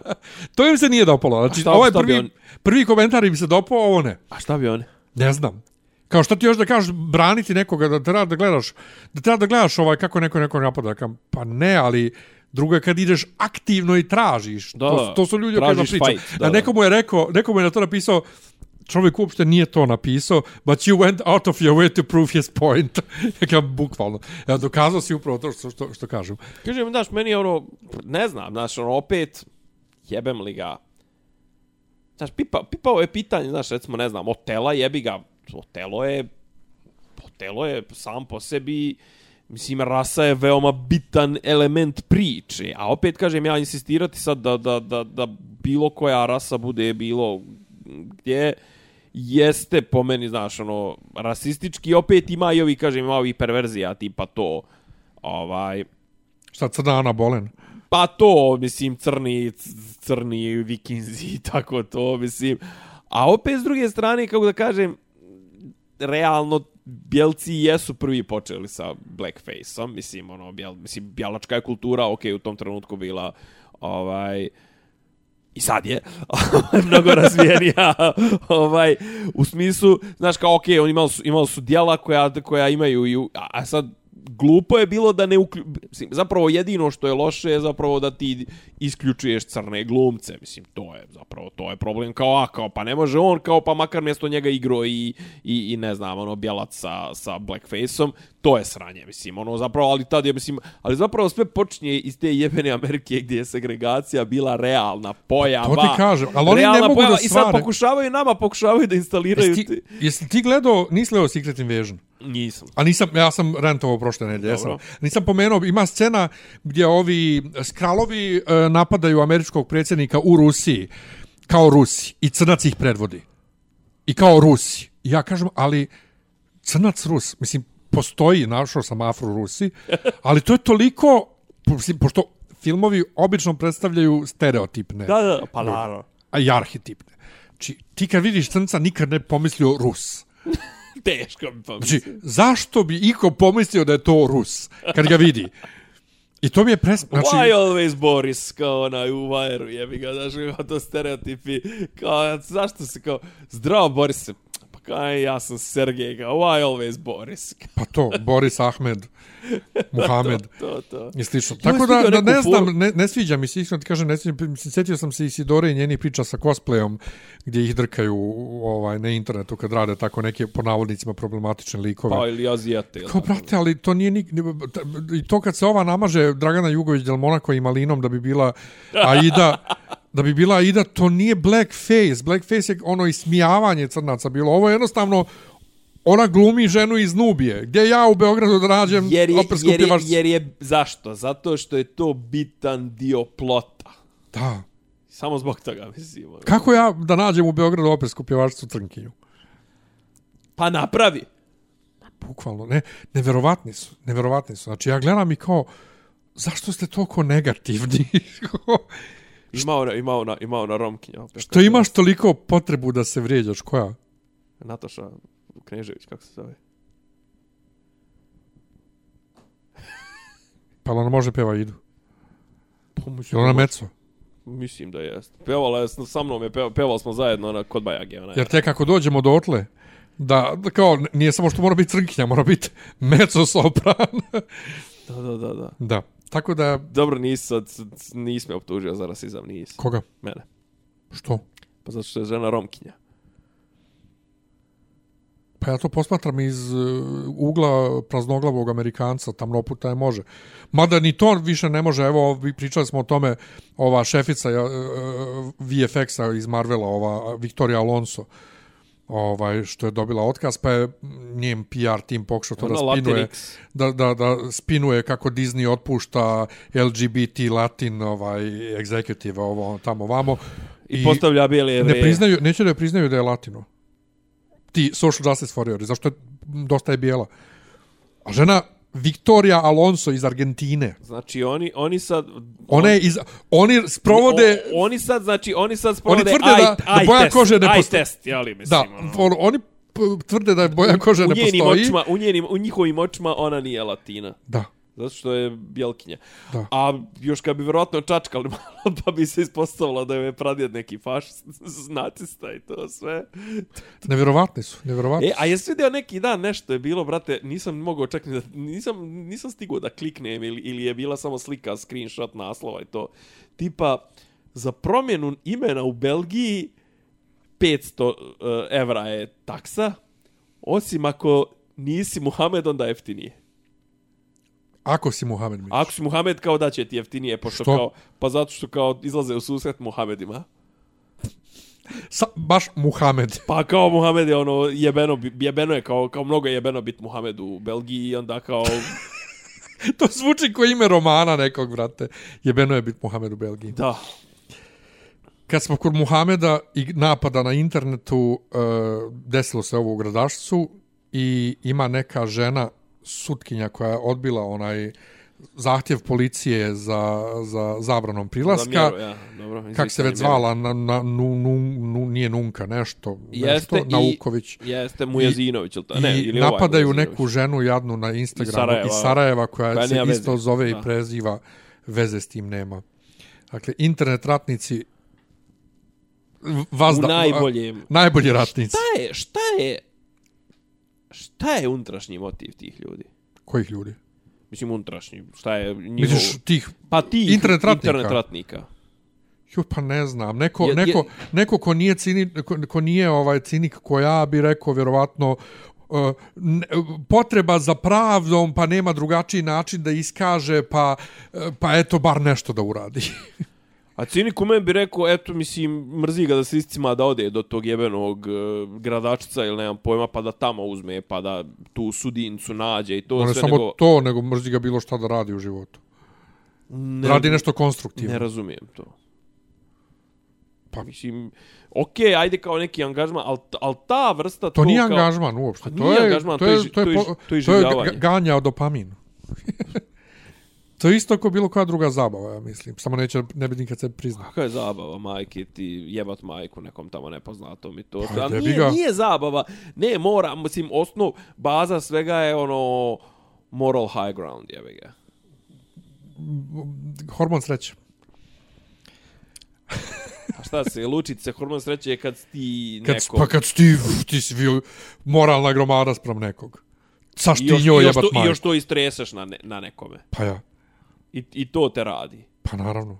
to im se nije dopalo. Znači,
šta-
ovaj
šta bi
prvi,
on-
prvi komentar im se dopao, ovo ne.
A šta bi on?
Ne znam. Kao šta ti još da kažeš, braniti nekoga, da treba da gledaš, da treba da gledaš ovaj kako neko neko napada. Kam, pa ne, ali drugo je kad ideš aktivno i tražiš.
Da,
to, to su ljudi o kojima
tražiš
pričam.
fight, da,
A
da.
neko mu je rekao, neko mu je na to napisao, čovjek uopšte nije to napisao, but you went out of your way to prove his point. Ja bukvalno. Ja, dokazao si upravo to što, što, što kažem.
Kažem, znaš, meni je ono, ne znam, znaš, ono, opet, jebem li ga. Znaš, pipa, pipao je pitanje, znaš, recimo, ne znam, Otela jebi ga, Otelo je, Otelo je sam po sebi, mislim, rasa je veoma bitan element priče, a opet, kažem, ja insistirati sad da, da, da, da bilo koja rasa bude bilo gdje, jeste po meni, znaš, ono, rasistički, opet ima i ovi, kažem, ima ovi perverzija, tipa to, ovaj,
Šta crna Ana Bolen?
Pa to, mislim, crni, c- crni vikinzi i tako to, mislim. A opet s druge strane, kako da kažem, realno bjelci jesu prvi počeli sa blackface-om, mislim, ono, bjel, mislim, bjelačka je kultura, ok, u tom trenutku bila, ovaj, i sad je mnogo razvijenija ovaj u smislu znaš kao okej okay, oni imali su imali su djela koja koja imaju i u- a, a sad glupo je bilo da ne uklju... mislim, zapravo jedino što je loše je zapravo da ti isključuješ crne glumce mislim to je zapravo to je problem kao a kao pa ne može on kao pa makar mjesto njega igro i, i, i ne znam ono bjelac sa, sa blackfaceom to je sranje mislim ono zapravo ali tad je mislim ali zapravo sve počinje iz te jebene Amerike gdje je segregacija bila realna pojava
Pa To ti kažem, ali oni ne
Realna
mogu da
pojava. i sad
stvare.
pokušavaju nama pokušavaju da instaliraju
Jesi
ti...
ti, jesi ti gledao, nisi gledao Secret Invasion?
nisam
A nisam, ja sam rentovao prošle nedelje, jesam.
Dobro.
Nisam pomenuo, ima scena gdje ovi eh, skralovi e, napadaju američkog predsjednika u Rusiji, kao Rusi, i crnac ih predvodi. I kao Rusi. I ja kažem, ali crnac Rus, mislim, postoji, našao sam Afro Rusi, ali to je toliko, mislim, pošto filmovi obično predstavljaju stereotipne
da da pa naravno
a i arhetipne. Znači, ti kad vidiš crnca, nikad ne pomislio Rus.
teško mi pa
Znači, zašto bi iko pomislio da je to Rus kad ga vidi? I to mi je pres...
Why
Znači,
always Boris, kao onaj u Vajeru, jebi ga, znaš, kao to stereotipi, kao, zašto se kao, zdravo Borise, pa kao, "Aj, ja sam Sergej, kao, why always Boris,
pa to, Boris Ahmed, Muhamed
to, to.
i slično.
Ja
Tako
sam
da,
vidio
da
neku
ne
foru-
znam, ne, ne sviđa mi se, iskreno ti kažem, ne sviđa, mi se. sjetio sam se Isidore i njenih priča sa cosplayom gdje ih drkaju ovaj, na internetu kad rade tako neke, po navodnicima, problematične likove.
Pa, ili Azijate, ili
Kao, brate, ali to nije nik... ni- ta- I to kad se ova namaže Dragana Jugović del Monako i Malinom da bi bila Aida... da bi bila Aida, to nije blackface. Blackface je ono ismijavanje crnaca bilo. Ovo je jednostavno ona glumi ženu iz Nubije. Gdje ja u Beogradu da nađem
jer je,
opersku
jer, je,
pjevač...
jer je, zašto? Zato što je to bitan dio plota.
Da.
Samo zbog toga, mislim. ono.
Kako ja da nađem u Beogradu opersku pjevačicu Crnkinju?
Pa napravi.
Bukvalno, ne, neverovatni su, neverovatni su. Znači, ja gledam i kao, zašto ste toliko negativni?
Imao na, imao na, imao na Romkinja. Opet,
to imaš toliko potrebu da se vrijeđaš, koja?
Nataša Knežević, kako se zove.
Pa ona može peva idu.
Pomoć.
Jel ona meco?
Mislim da jest. Pevala je, s- sa mnom je, peva, pevali smo zajedno na kod Bajage. Ona, je.
Jer tek ako dođemo do otle, da, da kao, n- nije samo što mora biti crnkinja, mora biti meco sopran.
Da, da, da, da.
da, tako da,
Dobro, nisi sad, s- nisi me optužio za rasizam, nisi.
koga?
Mene.
Što?
Pa zato što je žena Romkinja.
Pa ja to posmatram iz uh, ugla praznoglavog Amerikanca, tamnoputa je može. Mada ni to više ne može, evo, vi pričali smo o tome, ova šefica uh, VFX-a iz Marvela, ova Victoria Alonso, ovaj što je dobila otkaz, pa je njen PR tim pokušao to da
Ona
spinuje
Latinx.
da, da, da spinuje kako Disney otpušta LGBT Latin ovaj executive ovo tamo vamo
I, postavlja bijele jevreje.
ne priznaju neće da joj priznaju da je latino. Ti social justice warriors zašto je dosta je bijela. A žena Victoria Alonso iz Argentine.
Znači oni oni sad
Ona je iz oni sprovode
o, oni sad znači oni sad sprovode
Oni tvrde
eye,
da- da
eye
boja
test,
kože ne
eye
postoji.
test, je li mislim.
da
ono.
for, oni p- tvrde da je boja kože
u
ne
njenim
postoji.
očima, u njenim u njihovim očima ona nije latina.
Da.
Zato što je bjelkinja.
Da.
A još kad bi vjerojatno čačkali malo, pa bi se ispostavilo da je pradjed neki fašist, nacista i to sve.
Nevjerovatni su, nevjerovatni.
E,
su.
a jesi vidio neki dan nešto je bilo, brate, nisam mogao čak ni da, nisam, nisam stigao da kliknem ili, ili je bila samo slika, screenshot naslova i to. Tipa, za promjenu imena u Belgiji 500 uh, evra je taksa, osim ako nisi Muhamed, onda jeftinije.
Ako si Muhammed Mić.
Ako si Muhamed, kao da će ti jeftinije, pošto
Što?
kao, pa zato što kao izlaze u susret Muhamedima.
Sa, baš Muhammed.
Pa kao Muhamed je ono, jebeno, bi- jebeno je kao, kao mnogo je jebeno biti Muhamed u Belgiji i onda kao,
to zvuči kao ime romana nekog, brate. Jebeno je bit Muhammed u Belgiji.
da,
Kad smo kod Muhameda i napada na internetu, e, desilo se ovo u Gradašcu i ima neka žena sutkinja koja je odbila onaj zahtjev policije za, za zabranom prilaska.
Za mjeru, ja, dobro. izvini,
Kako se već
za mjeru.
zvala, na, na, nu, nu, nu, nije Nunka, nešto, nešto,
Jeste i-
Nauković.
Jeste Mujazinović, ili to? Ne,
I
ili ovaj
napadaju
Mujazinović.
neku ženu jadnu na Instagramu iz Sarajeva, iz
Iz Sarajeva.
Sarajeva koja
Koja
se
nema veze.
isto zove
Da.
i preziva, veze s tim nema. Dakle, internet ratnici v- vas
U
da,
najboljem.
najbolji ratnici.
Šta je, šta je, šta je unutrašnji motiv tih ljudi?
Kojih ljudi?
Mislim, unutrašnji, šta je njihov...
Misliš tih
pa ti
internet ratnika?
Internet ratnika.
Jo, pa ne znam, neko,
Je- je-
neko, neko ko nije, cini, ko, ko nije ovaj cinik ko ja bi rekao vjerovatno uh, ne, potreba za pravdom pa nema drugačiji način da iskaže pa, uh, pa eto bar nešto da uradi.
A cinik u meni bi rekao, eto, mislim, mrzi ga da se iscima da ode do tog jebenog uh, gradačica ili nemam pojma, pa da tamo uzme, pa da tu sudincu nađe i to
On je
sve
Ono samo
nego...
to, nego mrzi ga bilo šta da radi u životu.
Ne,
radi nešto konstruktivno.
Ne razumijem to.
Pa-
Pa mislim, okej, okay, ajde kao neki angažman, ali al ta vrsta...
to nije
kao,
angažman uopšte.
A
To
nije
je,
angažman,
to
to je
je,
ži-
to je,
to je
po-
ži- to je
to je ga-
iživljavanje.
ganja od dopamina. to je isto kao bilo koja druga zabava, ja mislim. Samo neće, ne bi nikad se priznao.
Kakva je zabava, majke ti jebat majku nekom tamo nepoznatom i to.
Pa,
Pa,
jebi
nije,
ga.
nije zabava. Ne, mora, mislim, osnov, baza svega je ono moral high ground, jebe ga.
Hormon sreće.
A šta se, lučit se, hormon sreće je kad ti
Kad,
neko...
pa kad si ti, ti si bio moralna gromada sprem nekog. Saš
I
ti
još,
njoj
još,
jebat
to, i
majku.
još to istreseš na, ne, na nekome.
Pa ja,
I, I to te radi.
pa naravno.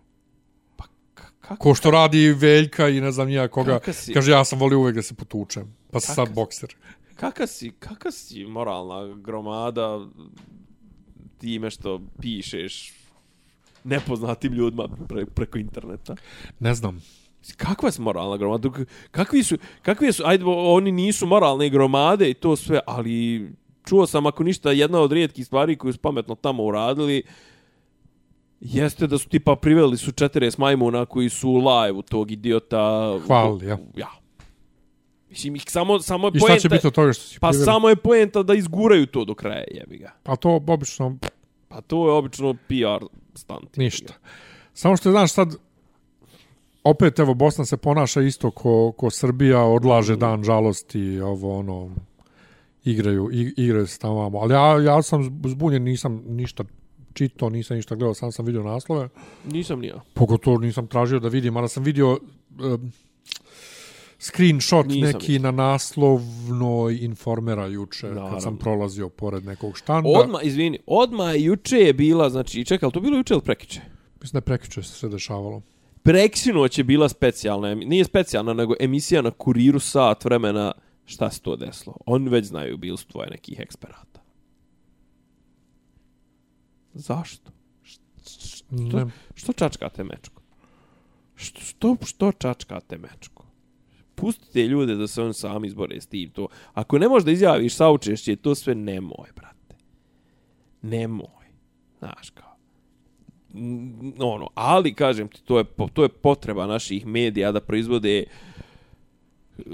Pa k- kako?
Ko što radi Veljka i ne znam nija koga.
Kaka si-
Kaže, ja sam volio uvek da se potučem. Pa sam sad bokser.
Kaka si, kaka si moralna gromada time što pišeš nepoznatim ljudima pre, preko interneta.
Ne znam.
Kakva si moralna gromada? Dok- Kakvi su, kakvi su, ajde, o- oni nisu moralne gromade i to sve, ali čuo sam ako ništa jedna od rijetkih stvari koju su pametno tamo uradili jeste da su tipa priveli su 40 majmuna koji su live u tog idiota.
Hvalili, ja.
Ja. Mislim, ih samo, samo je
I šta će biti od toga što si
Pa
priveden?
samo je poenta da izguraju to do kraja, jebi ga.
Pa to obično,
Pa to je obično PR konstanti.
Ništa. Samo što znaš sad, opet evo Bosna se ponaša isto ko, ko Srbija, odlaže dan žalosti, ovo ono, igraju, i, igraju se tamo vamo. Ali ja, ja sam zbunjen, nisam ništa čitao, nisam ništa gledao, sam sam vidio naslove.
Nisam ni ja.
Pogotovo nisam tražio da vidim, ali sam vidio um, screenshot
Nisam
neki
isto.
na naslovnoj informera juče,
Naravno.
kad sam prolazio pored nekog štanda.
Odma, izvini, odma juče je bila, znači, čekaj, ali to bilo juče ili prekiče?
Mislim da je prekjuče se dešavalo.
Preksinoć je bila specijalna, emi- nije specijalna, nego emisija na kuriru sat vremena šta se to desilo. Oni već znaju bilstvo je nekih eksperata. Zašto?
Ne,
Što čačkate mečko? Što, što, što čačkate mečko? Pustite ljude da se oni sami izbore s tim to. Ako ne možeš da izjaviš saučešće, to sve nemoj, brate. Nemoj. Znaš kao. N- Ono, ali kažem ti, to je, po- to je potreba naših medija da proizvode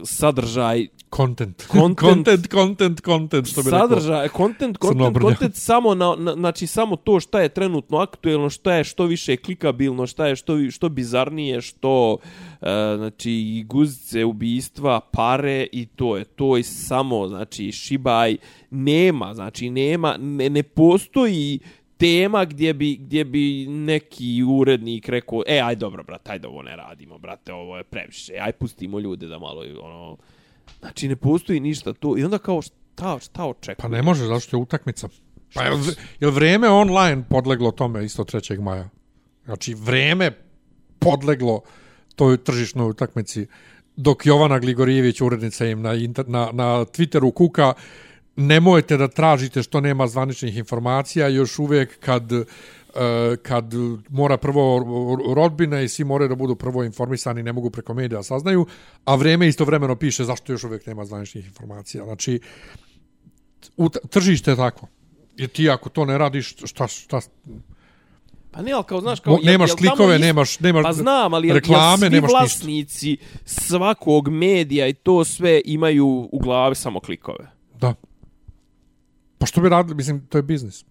sadržaj
content.
Content.
content, content, content, što bi rekao.
sadržaj, kontent, kontent,
Crnobrnjak.
kontent samo na, na, znači samo to šta je trenutno aktuelno, šta je što više klikabilno, šta je što, vi- što bizarnije, što e, znači i guzice, ubistva, pare i to je to i samo znači šibaj nema, znači nema, ne, ne postoji tema gdje bi, gdje bi neki urednik rekao, e, aj dobro, brate, ajde ovo ne radimo, brate, ovo je previše, aj pustimo ljude da malo, ono, znači ne postoji ništa to, i onda kao, šta, šta očekuje?
Pa ne može, zašto je utakmica? Pa je, li- je li vreme online podleglo tome isto 3. maja? Znači, vreme podleglo toj tržišnoj utakmici, dok Jovana Gligorijević, urednica im na, inter, na, na Twitteru kuka, nemojte da tražite što nema zvaničnih informacija, još uvijek kad e, kad mora prvo rodbina i svi moraju da budu prvo informisani, ne mogu preko medija da saznaju, a vreme istovremeno piše zašto još uvijek nema zvaničnih informacija. Znači, u t- tržište je tako. Jer ti ako to ne radiš, šta, šta,
Pa ne, ali kao, znaš, kao...
mo,
jel-
nemaš
jel tamo
klikove,
isto-
nemaš, nemaš
Pa znam, ali jel,
reklame,
jel svi
nemaš ništa.
vlasnici svakog medija i to sve imaju u glavi samo klikove?
Da. Pa što bi radili, mislim, to je biznis.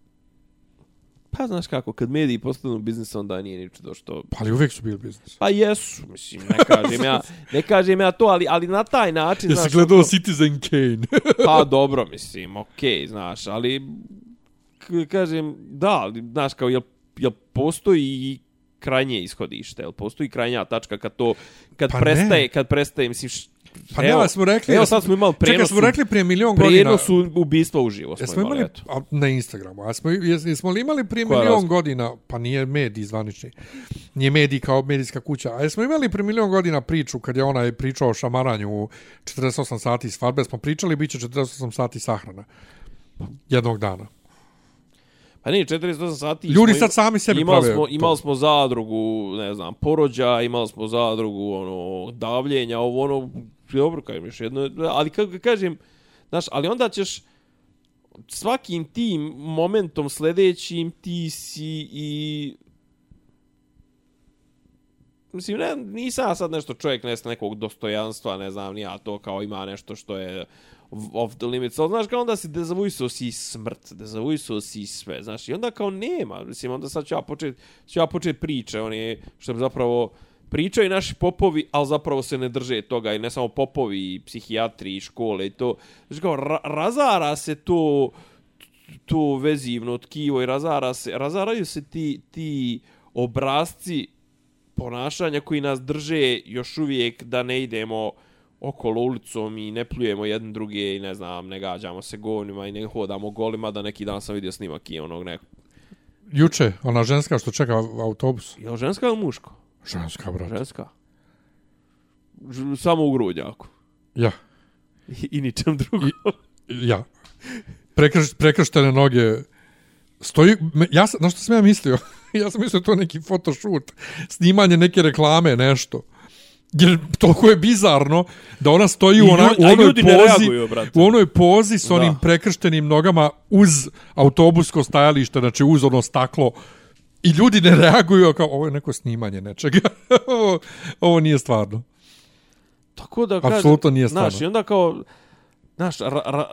Pa znaš kako, kad mediji postanu biznis, onda nije ni čudo što...
Pa ali uvijek su bili biznis.
Pa jesu, mislim, ne kažem ja, ne kažem ja to, ali, ali na taj način...
Jesi
znaš,
gledao
ono-
Citizen Kane?
Pa dobro, mislim, okej, znaš, ali k- kažem, da, ali, znaš, kao, jel, jel postoji krajnje ishodište, jel postoji krajnja tačka kad to, kad
Pa ne.
prestaje, kad prestaje, mislim, š-
Pa ne, ali smo rekli...
evo sad smo imali prenos,
Čekaj, smo rekli prije milion godina...
prenos u- ubistva u živo smo
Jesmo
imali,
imali
eto.
a, na Instagramu, a smo, jes, jesmo li imali prije
Koja
milion
razlika?
godina, pa nije medij zvanični, nije medij kao medijska kuća, a jesmo imali prije milion godina priču kad je onaj pričao o šamaranju u 48 sati svadbe, smo pričali bit će 48 sati sahrana jednog dana.
Pa ne, 48 sati.
Ljudi
smo im-
sad sami sebi
imali
prave
smo,
to.
imali smo zadrugu, ne znam, porođa, imali smo zadrugu, ono, davljenja, ovo, ono, dobro, kažem, još jedno, ali kako ga kažem, znaš, ali onda ćeš svakim tim momentom sljedećim ti si i Mislim, ne, nisam ja sad nešto čovjek nes nekog dostojanstva, ne znam, ni ja to kao ima nešto što je v- off the limits, ali znaš kao onda si dezavuisao si i smrt, dezavuisao si i sve, znaš, i onda kao nema, mislim, onda sad ću ja počet, ću ja počet priče, oni što bi zapravo pričaju naši popovi, ali zapravo se ne drže toga i ne samo popovi, i psihijatri, i škole i to, znaš kao, ra razara se to, to vezivno tkivo i razara se, razaraju se ti, ti obrazci ponašanja koji nas drže još uvijek da ne idemo okolo ulicom i ne pljujemo jedni druge i ne znam, ne gađamo se govnima i ne hodamo golima, da neki dan sam vidio snimak i onog nekog.
Juče, ona ženska što čeka autobus.
Je li ženska ili muško?
Ženska, brate.
Ženska. Ž- Samo u grudnjaku.
Ja,
I, i ničem drugom.
ja. Prekrš, prekrštene noge. Stoji, me- ja sam, na što sam ja mislio? ja sam mislio to je neki photoshoot, snimanje neke reklame, nešto. Jer toliko je bizarno da ona stoji u,
I
ona,
ljudi-
u
a
onoj
ljudi ne
pozi,
reaguju, brate.
u onoj pozi s onim
Da.
prekrštenim nogama uz autobusko stajalište, znači uz ono staklo i ljudi ne reaguju kao ovo je neko snimanje nečega. ovo, ovo nije stvarno.
Tako da kažem,
Apsolutno nije stvarno.
Znaš, i onda kao, znaš, ra, ra,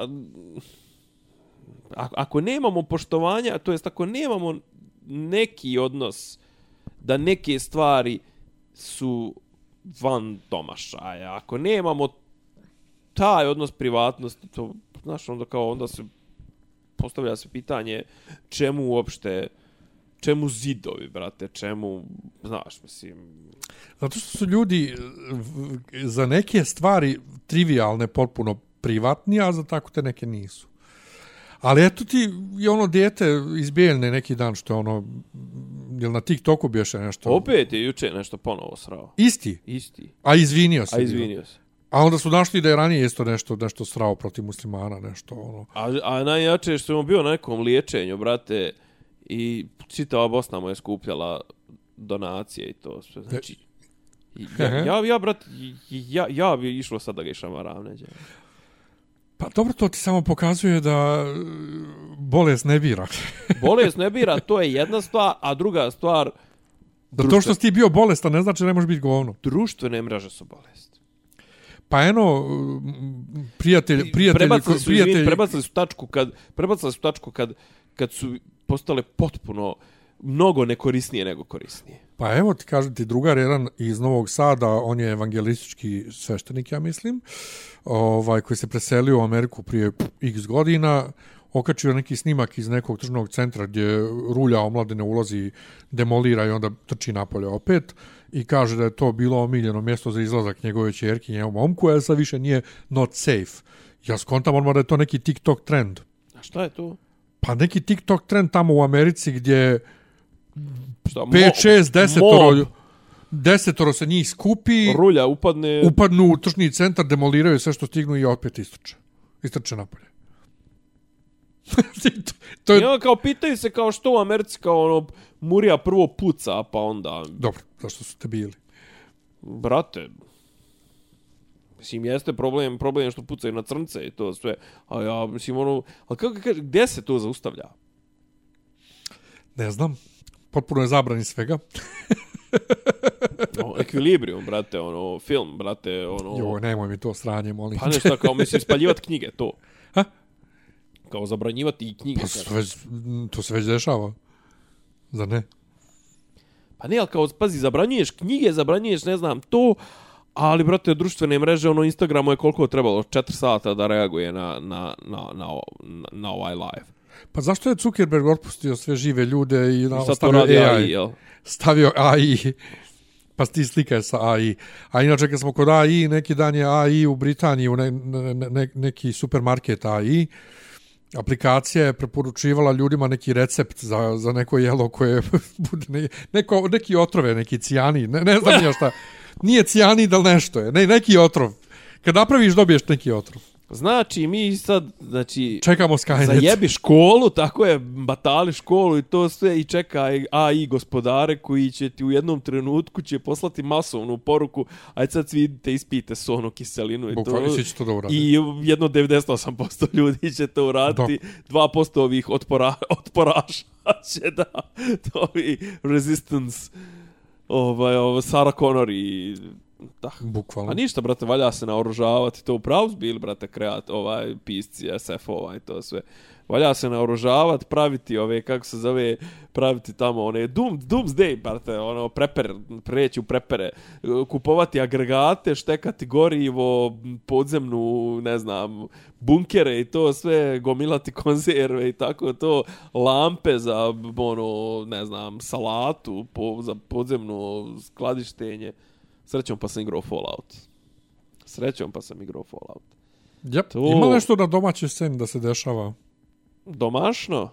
a- ako nemamo poštovanja, to jest ako nemamo neki odnos da neke stvari su van domašaja. Ako nemamo taj odnos privatnosti, to, znaš, onda kao, onda se postavlja se pitanje čemu uopšte čemu zidovi, brate, čemu, znaš, mislim,
Zato što su ljudi eh, v- za neke stvari trivialne potpuno privatni, a za tako te neke nisu. Ali eto ti je ono dijete iz Bijeljne neki dan što je ono, jel na TikToku biješe nešto?
opet je juče nešto ponovo srao.
Isti,
Isti.
a izvinio se.
A izvinio se.
A onda su našli da je ranije isto nešto, nešto srao protiv muslimana, nešto ono.
A, a najjače je što je on bio na nekom liječenju, brate, i čitava Bosna mu je skupljala donacije i to. sve. Znači, i ja,
Aha.
ja, ja, brat, i- i- ja, ja bi išlo sad da ga išamaram neđe.
Pa dobro, to ti samo pokazuje da eh, bolest ne bira.
Bolest ne bira, to je jedna stvar, a druga stvar,
Da to što si ti bio bolestan ne znači da ne možeš biti govno.
društvene mreže su bolest.
Pa eno, m, prijatelj, prijatelji,
prebacili su,
prijatelji,
izvini, prebacili su tačku kad prebacili su tačku kad kad su postale potpuno mnogo nekorisnije nego korisnije.
Pa evo ti kažem ti drugar jedan iz Novog Sada, on je evangelistički sveštenik, ja mislim, ovaj, koji se preselio u Ameriku prije x godina, okačio neki snimak iz nekog tržnog centra gdje rulja omladine ulazi, demolira i onda trči napolje opet i kaže da je to bilo omiljeno mjesto za izlazak njegove čerke i njegovom momku, a sad više nije not safe. Ja skontam odmah da je to neki TikTok trend.
A šta je to?
Pa neki TikTok trend tamo u Americi gdje
Šta, mo-
5, 6,
mob?
desetoro, desetoro se njih skupi,
rulja upadne
upadnu u tržni centar, demoliraju sve što stignu i opet istrče. Istrče napolje. to, to
I
je...
onda kao pitaju se kao što u Americi kao ono Murija prvo puca pa onda
Dobro, zašto su te bili?
brate Mislim, jeste problem, problem je što pucaju na crnce i to sve. A ja, mislim, ono... Ali kako kaže, gdje se to zaustavlja?
Ne znam. Potpuno je zabranjen svega.
O, ekvilibrium, Ono, brate, ono, film, brate, ono...
Joj, nemoj mi to sranje, molim.
Pa nešto kao, mislim, spaljivati knjige, to.
Ha?
Kao zabranjivati i knjige.
Pa
sad.
se već, m, to se već dešava. Zar ne?
Pa ne, ali kao, pazi, zabranjuješ knjige, zabranjuješ, ne znam, to, ali, brate, društvene mreže, ono, Instagramu je koliko trebalo, 4 sata da reaguje na, na, na, na, o- na, na ovaj live.
Pa zašto je Zuckerberg otpustio sve žive ljude i, na,
I sad to radi AI, jel?
stavio AI, pa ti slike sa AI. A inače kad smo kod AI, neki dan je AI u Britaniji, u ne, ne, ne, neki supermarket AI, aplikacija je preporučivala ljudima neki recept za, za neko jelo koje bude ne, neko, neki otrove, neki cijani, ne, ne znam ja šta. Nije cijani, da nešto je, ne, neki otrov. Kad napraviš, dobiješ neki otrov.
Znači, mi sad, znači,
Čekamo Skynet.
zajebi školu, tako je, batali školu i to sve i čeka AI gospodare koji će ti u jednom trenutku će poslati masovnu poruku, ajde sad svi idite ispijte sonu kiselinu i
Bukvalno,
to.
svi će to da urade.
I jedno 98% ljudi će to uraditi, 2% ovih otpora, otporaša će da, to i resistance, ovaj, ovaj, Sarah Connor i tako.
Bukvalno.
A Pa ništa, brate, valja se naoružavati, to upravo su bili, brate, kreat, ovaj, pisci, SF-ova i to sve. Valja se naoružavati, praviti ove, kako se zove, praviti tamo one, doom, doomsday, brate, ono, preper, preći u prepere, kupovati agregate, štekati gorivo, podzemnu, ne znam, bunkere i to sve, gomilati konzerve i tako to, lampe za, ono, ne znam, salatu, po, za podzemno skladištenje. Srećom pa sam igrao Fallout. Srećom pa sam igrao Fallout.
Yep.
To-
Ima nešto na domaćoj sceni da se dešava.
Domašno?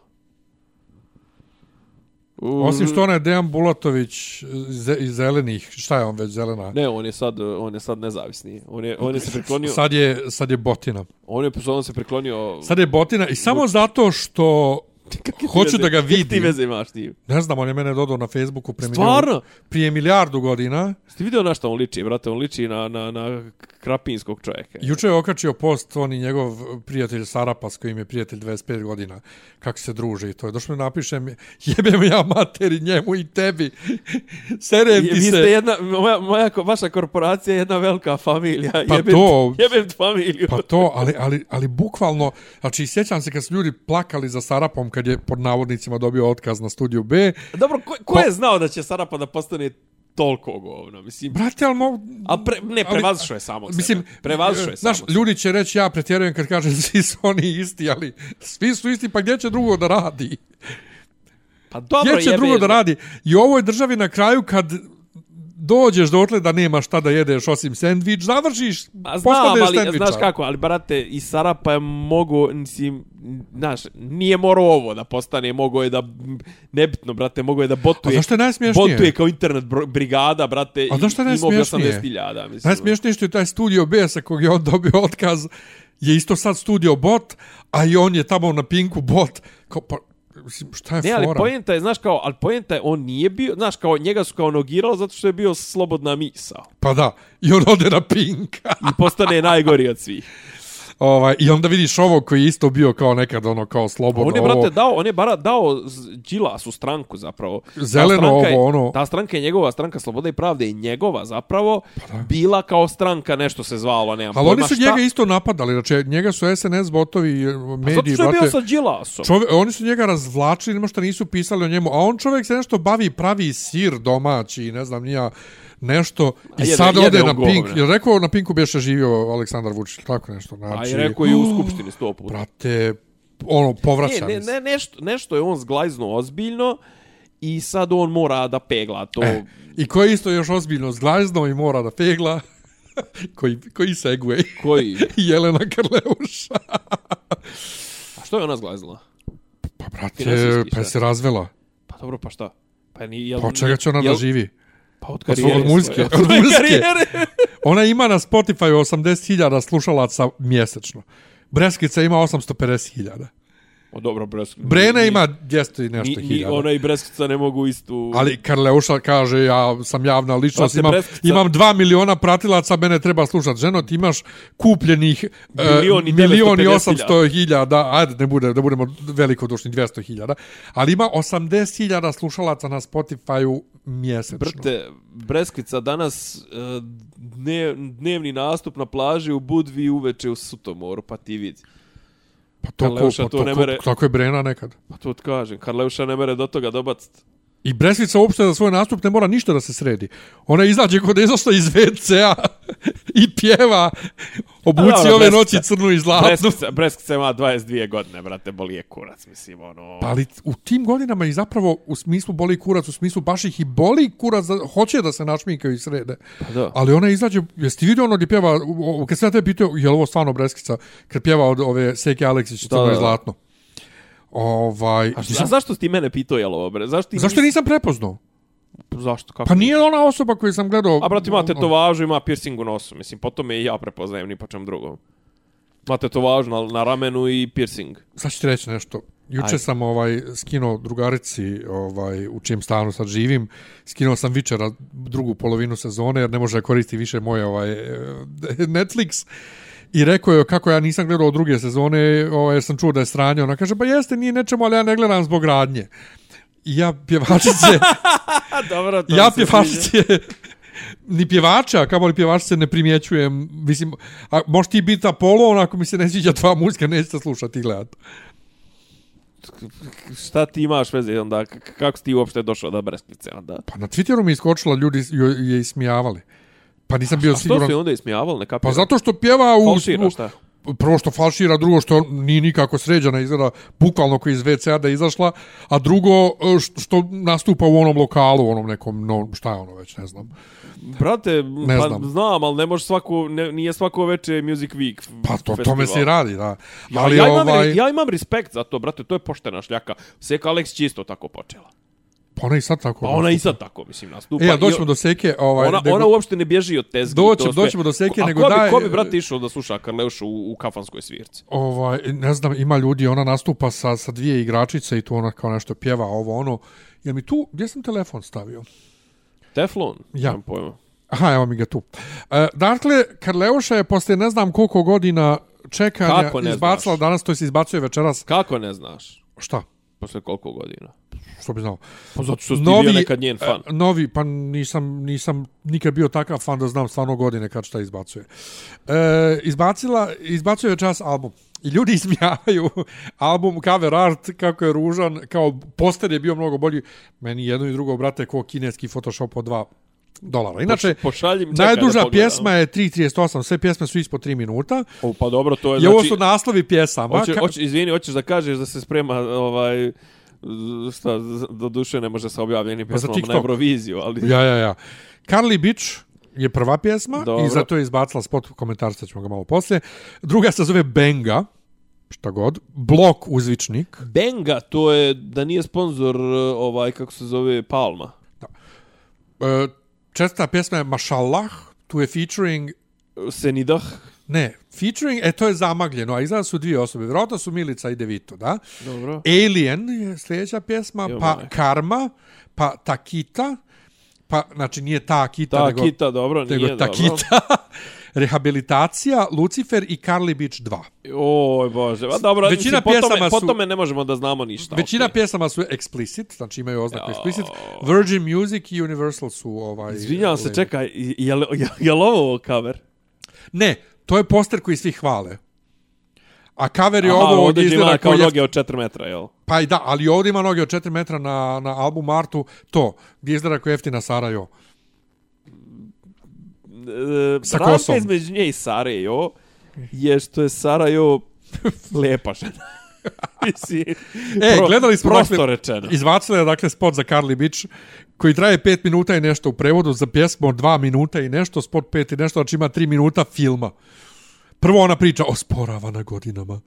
Mm, U-
Osim što onaj Dejan Bulatović iz- iz zelenih, šta je on već zelena?
Ne, on je sad, on je sad nezavisni. On je, on je se preklonio,
Sad je, sad je botina.
on je on se preklonio...
Sad je botina i samo zato što
Kakve ti
hoću
veze-
da ga
kakve Ti
vidim.
veze imaš ti.
Ne znam, on je mene dodao na Facebooku pre
Stvarno?
milijardu, prije milijardu godina.
Ste vidio na što on liči, brate? On liči na, na, na krapinskog čovjeka.
Juče je okačio post on i njegov prijatelj Sarapas, koji im je prijatelj 25 godina, kako se druže i to je. Došlo mi napišem, jebem ja materi njemu i tebi. Serem
Je,
ti
vi
se.
ste jedna, moja, moja, ko- vaša korporacija je jedna velika familija.
Pa
jebem,
to-
Jebem familiju.
Pa to, ali, ali, ali bukvalno, znači sjećam se kad su ljudi plakali za Sarapom kad kad je pod navodnicima dobio otkaz na studiju B.
Dobro, ko,
pa-
ko je znao da će Sarapa da postane toliko govno, mislim...
Brate, ali mo...
A pre, ne, prevazišao je samog
Mislim, e,
sebe. Prevazišao je samog
Znaš, ljudi će reći, ja pretjerujem kad kažem svi su oni isti, ali svi su isti, pa gdje će drugo da radi?
Pa dobro
Gdje će
jebe,
drugo da radi? I u ovoj državi na kraju kad dođeš dotle da nema šta da jedeš osim sendvič, završiš,
A Pa znam,
postaneš
ali
sendvičar.
znaš kako, ali brate, i Sarapa je mogo, mislim, znaš, nije morao ovo da postane, mogo je da, nebitno, brate, mogo je da botuje.
A zašto je najsmješnije?
Botuje kao internet bro- brigada, brate,
A zašto je
i- imao bi
najsmješnije?
80.000, mislim.
Najsmiješnije što je taj studio B sa kog je on dobio otkaz je isto sad studio bot, a i on je tamo na pinku bot. Kao, pa, mislim, šta je
Ne, ali
fora?
poenta je, znaš kao, ali poenta je, on nije bio, znaš kao, njega su kao nogirali zato što je bio slobodna misao.
Pa da, i on ode na pink.
I postane najgori od svih.
ovaj, I onda vidiš ovo koji je isto bio kao nekad ono kao slobodno.
On je,
ovo.
brate, dao, on je bara dao Đilasu stranku zapravo. Ta
Zeleno
stranka je-
ovo, ono.
Ta stranka je njegova, stranka Slobode i Pravde je njegova zapravo, bila kao stranka, nešto se zvalo, nemam
Pa Ali
pojma
oni su
šta.
njega isto napadali, znači njega su SNS botovi, eh,
Zato
mediji,
što je bio
brate,
sa Đilasom.
čove, oni su njega razvlačili, nema što nisu pisali o njemu, a on čovjek se nešto bavi, pravi sir domaći, ne znam, nija nešto, i
jede-
sad
jede
ode
on
na
govna.
Pink, jer rekao na Pinku bješe živio Aleksandar Vučić, tako nešto,
A
znači,
i rekao je u skupštini sto puta.
brate, ono, povraćali
Ne, ne,
se.
ne, nešto, nešto je on zglajzno ozbiljno i sad on mora da pegla to.
I koji isto još ozbiljno zglazno i mora da pegla, koji, koji segway,
Koji?
Jelena Karleuša.
A što je ona zglajznula?
Pa, brate,
Finansijski,
pa
šta?
se razvela.
Pa dobro, pa šta? Pa, ni, jel,
Pa od čega će ona
jel-
da živi?
Pa od
svog-
karijere.
od muzike,
svoje.
od muzike.
karijere.
Ona ima na Spotify 80.000 slušalaca mjesečno. Breskica ima 850.000.
O, dobro, Bresk.
Brena
ni-
ima 200 i
Ni,
nešto
ni
hiljada.
ona i Breskica ne mogu istu...
Ali Karleuša kaže, ja sam javna ličnost,
Brate,
imam,
Breskica-
imam 2 miliona pratilaca, mene treba slušat. Ženo, ti imaš kupljenih e,
Milion i
milion i
950.000.
800 hiljada, ajde, ne bude, da budemo velikodušni, 200 hiljada, ali ima 80 hiljada slušalaca na Spotify-u mjesečno.
Brte, Breskvica danas e, dne, dnevni nastup na plaži u Budvi uveče u Sutomoru, pa ti vidi.
pa to, ko,
Karleuša
pa
to
to,
ne
ko,
mere.
tako je Brena nekad.
Pa to ti kažem, Karleuša ne mere do toga dobacit.
I Breslica uopšte za svoj nastup ne mora ništa da se sredi. Ona izađe kod izašla iz WC-a i pjeva
A
obuci
dobro,
ove
Breskvica.
noći crnu i zlatnu.
Breskvica, Breskvica ima 22 godine, brate, boli je kurac, mislim, ono...
Pa ali u tim godinama i zapravo u smislu boli kurac, u smislu baš ih i boli kurac, da, hoće da se našminkaju i srede.
Pa da.
Ali ona izađe, jesi ti vidio ono gdje pjeva, u- u- kad se ja te pitao, je li ovo stvarno Breskica, kad pjeva od ove Seke Aleksić
Da,
crno i
da.
zlatno. Ovaj,
A, šta,
nisam-
a zašto si ti mene pitao, jel ovo, bre? Zašto ti
zašto
nisi-
nisam prepoznao?
Zašto, kako?
Pa nije ona osoba koju sam gledao...
A brate, ima
ono-
tetovažu, ima piercing u nosu, mislim, po tome i ja prepoznajem, ni po čem drugom. Ima tetovažu na, na ramenu i piercing.
Sad ću ti reći nešto. Juče
Ajde.
sam ovaj skinuo drugarici ovaj u čijem stanu sad živim. Skinuo sam vičera drugu polovinu sezone jer ne može da koristi više moje ovaj eh, Netflix. I rekao je kako ja nisam gledao druge sezone, ovaj, jer sam čuo da je sranje. Ona kaže, pa jeste, nije nečemu, ali ja ne gledam zbog radnje. I ja pjevačice,
A dobro, to
ja pjevačice, ni pjevača, kamo li pjevačice ne primjećujem. Mislim, a, možeš ti biti Apollo, onako mi se ne sviđa tvoja muzika, nećete slušati i gledati.
Šta ti imaš veze onda? K- k- kako si ti uopšte došao do Breskvice onda?
Pa na Twitteru mi je iskočila, ljudi joj je ismijavali. Pa nisam bio
A što
siguran.
su je onda ismijavali? Ne kapiram.
Pa zato što pjeva u...
Falšira, šta?
u- Prvo što falšira, drugo što nije nikako sređena, izgleda bukvalno koji iz WC-a da je izašla, a drugo e, š- što nastupa u onom lokalu, onom nekom, no, šta je ono već, ne znam.
Brate,
Ne
pa
znam.
znam. ali ne može svako, ne, nije svako veče Music Week.
Pa to,
festival.
tome se i radi, da.
Ja,
Ali
ja, imam,
ovaj,
re- ja imam respekt za to, brate, to je poštena šljaka. Seka Alex isto tako počela.
pa ona i sad tako.
Pa ona i sad tako, mislim, nastupa.
E, ja
I
doćemo do seke, ovaj,
Ona,
nego-
ona uopšte ne bježi od tezgi.
Doćem-
to sve.
doćemo do seke,
A
nego
ko bi,
daj-
Ko bi, brate, išao da sluša Karleušu u, u kafanskoj svirci?
ovaj, ne znam, ima ljudi, ona nastupa sa, sa dvije igračice i tu ona kao nešto pjeva, ovo, ono. Jel mi tu, gdje sam telefon stavio?
Teflon?
Ja.
Nemam pojma.
Aha, evo mi ga tu. E, dakle, Karleuša je posle ne znam koliko godina čekanja
Kako ne
izbacila
znaš?
danas, to se izbacuje večeras.
Kako ne znaš?
Šta?
Posle koliko godina?
Što bi znao?
Pa zato što si ti bio nekad njen fan.
e, novi, pa nisam, nisam nikad bio takav fan da znam stvarno godine kad šta izbacuje. E, izbacila, izbacuje večeras album. I ljudi ismijavaju album cover art kako je ružan, kao poster je bio mnogo bolji. Meni jedno i drugo, brate, ko kineski Photoshop od 2 dolara. Inače,
Poš- pošalji mi, čekaj da
najduža
pogledam.
pjesma je 3.38, sve pjesme su ispod 3 minuta.
O, pa dobro, to je...
I ovo su naslovi pjesama.
Hoće,
Ka-
hoće, izvini, hoćeš da kažeš da se sprema ovaj šta, z- do duše ne može sa objavljenim
Pa za
pjesmama na
TikTok.
Euroviziju, ali...
Ja, ja, ja. Carly Beach je prva pjesma Dobro. i
Dobro.
zato je izbacila spot komentar, sad ćemo ga malo poslije. Druga se zove Benga, šta god, blok uzvičnik.
Benga, to je da nije sponzor e, ovaj, kako se zove, Palma.
E, česta pjesma je Mašallah, tu je featuring,
Senidah.
ne, featuring, e to je zamagljeno, a iza su dvije osobe, vjerojatno su Milica i Devito, da?
Dobro.
Alien je sljedeća pjesma,
Jo,
pa
moje.
Karma, pa Takita, pa, znači nije Takita,
Ta
nego...
kita, dobro, nije
nego
dobro.
Takita, Rehabilitacija, Lucifer i Carly Beach 2.
Oj, bože. Pa dobro,
Većina
mislim, po tome,
pjesama
po
su-
tome ne možemo da znamo ništa.
Većina
okej.
pjesama su explicit, znači imaju oznaku
Jao.
explicit. Virgin Music i Universal su ovaj...
Izvinjavam se,
label.
čekaj, i- jel, jel, jel ovo cover?
Ne, to je poster koji svi hvale. A cover je
Aha,
ovo ovdje
ovdje
izgleda
ima
kao
kao
je...
noge od 4 metra, jel?
Pa i da, ali ovdje ima noge od 4 metra na, na album Artu, to, gdje izgleda kao jeftina Sarajo.
E,
Sa
razlika
kosom.
između nje i Sarajevo je što je Sarajevo lepa žena. Mislim,
E, gledali smo,
prosto
dakle-
rečeno.
Izvacila je dakle spot za Carly Beach koji traje 5 minuta i nešto u prevodu, za pjesmu od 2 minuta i nešto, spot 5 i nešto, znači ima 3 minuta filma. Prvo ona priča osporava na godinama.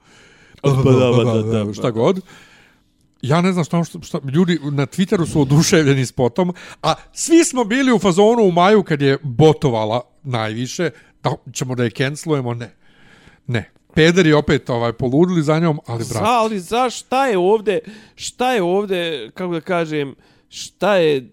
Pa
Osporava, da, da, da.
Šta god. Ja ne znam šta, šta, šta, ljudi na Twitteru su oduševljeni spotom, a svi smo bili u fazonu u maju kad je botovala najviše, da ćemo da je cancelujemo, ne. Ne. Peder je opet ovaj, poludili za njom, ali
Za,
brate,
ali za šta je ovde, šta je ovde, kako da kažem, šta je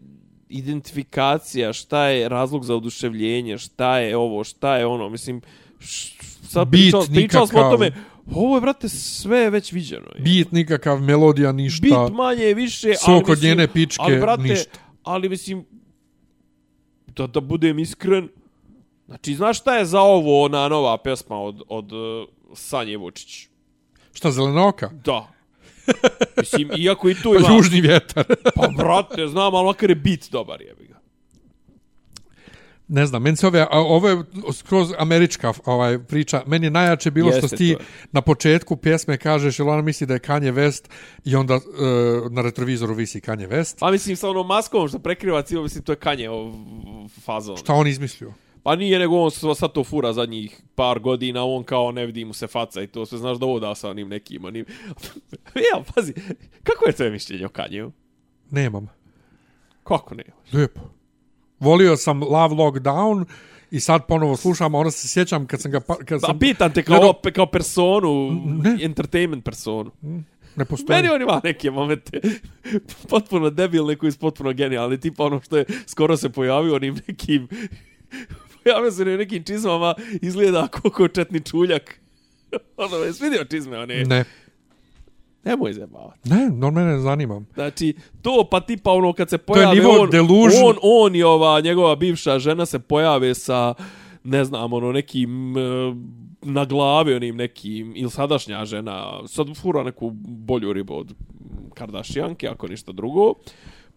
identifikacija, šta je razlog za oduševljenje, šta je ovo, šta je ono, mislim, š, sad
Bit
pričali, pričali smo o
nikakav.
tome, ovo je, brate, sve već viđeno. je.
bit nikakav, melodija ništa.
Bit manje, više, ali
Sok od njene pičke,
ali, brate,
ništa.
Ali mislim, da, da budem iskren, znači, znaš šta je za ovo ona nova pesma od, od uh, Sanje Vučić?
Šta, zelenoka?
Da. Mislim, iako i tu
Pa
ima...
južni vjetar.
Pa brate, znam, ali makar je bit dobar, jebi ga.
ne znam, meni se ove, a, ovo je skroz američka ovaj, priča. Meni je najjače bilo
Jeste,
što si ti
to je.
na početku pjesme kažeš, jel ona misli da je Kanye West i onda e, na retrovizoru visi Kanye West.
Pa mislim, sa onom maskom što prekriva cijelo, mislim, to je kanje fazon.
Šta on izmislio?
Pa nije, nego on s- sad to fura zadnjih par godina, on kao ne vidi mu se faca i to sve, znaš da ovo da sa onim nekim, onim... ja, pazi, kako je tvoje mišljenje o Kanjeu?
Nemam.
Kako ne?
Lijepo. Volio sam Love Lockdown i sad ponovo slušam, a onda se sjećam kad sam ga... pa- Kad
Pa
sam,
pitan te kao,
Gledao-
ope- kao personu,
Ne.
entertainment personu.
ne postoji.
Meni on ima neke momente potpuno debilne koji su potpuno genijalni, tipa ono što je skoro se pojavio onim nekim pojavio se na nekim čizmama, izgleda koliko četni čuljak. Ono, jesi vidio čizme one?
Ne,
Nemoj zajebavati.
ne, on mene ne zanima.
Znači, to pa tipa ono kad se pojave
nivo
on,
delusion.
on, on i ova njegova bivša žena se pojave sa, ne znam, ono nekim e, na glavi onim nekim, ili sadašnja žena, sad fura neku bolju ribu od Kardashianke, ako ništa drugo.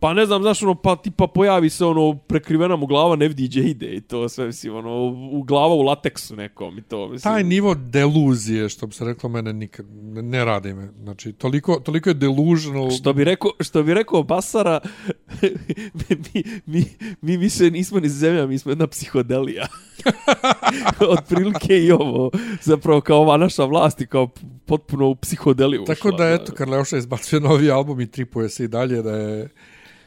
Pa ne znam, znaš, ono, pa tipa pojavi se ono, prekrivena mu glava, ne vidi gdje ide i to sve, mislim, ono, u glava u lateksu nekom i to, mislim.
taj nivo deluzije, što bi se reklo mene, nikad, ne, ne radi me. Znači, toliko, toliko je delusional...
Što bi rekao, što bi rekao Basara, mi, mi, mi više nismo ni zemlja, mi smo jedna psihodelija. Otprilike i ovo, zapravo kao ova naša vlast i kao potpuno u psihodeliju
Tako
ušla,
da, eto, Karleuša izbacuje novi album i tripuje se i dalje da je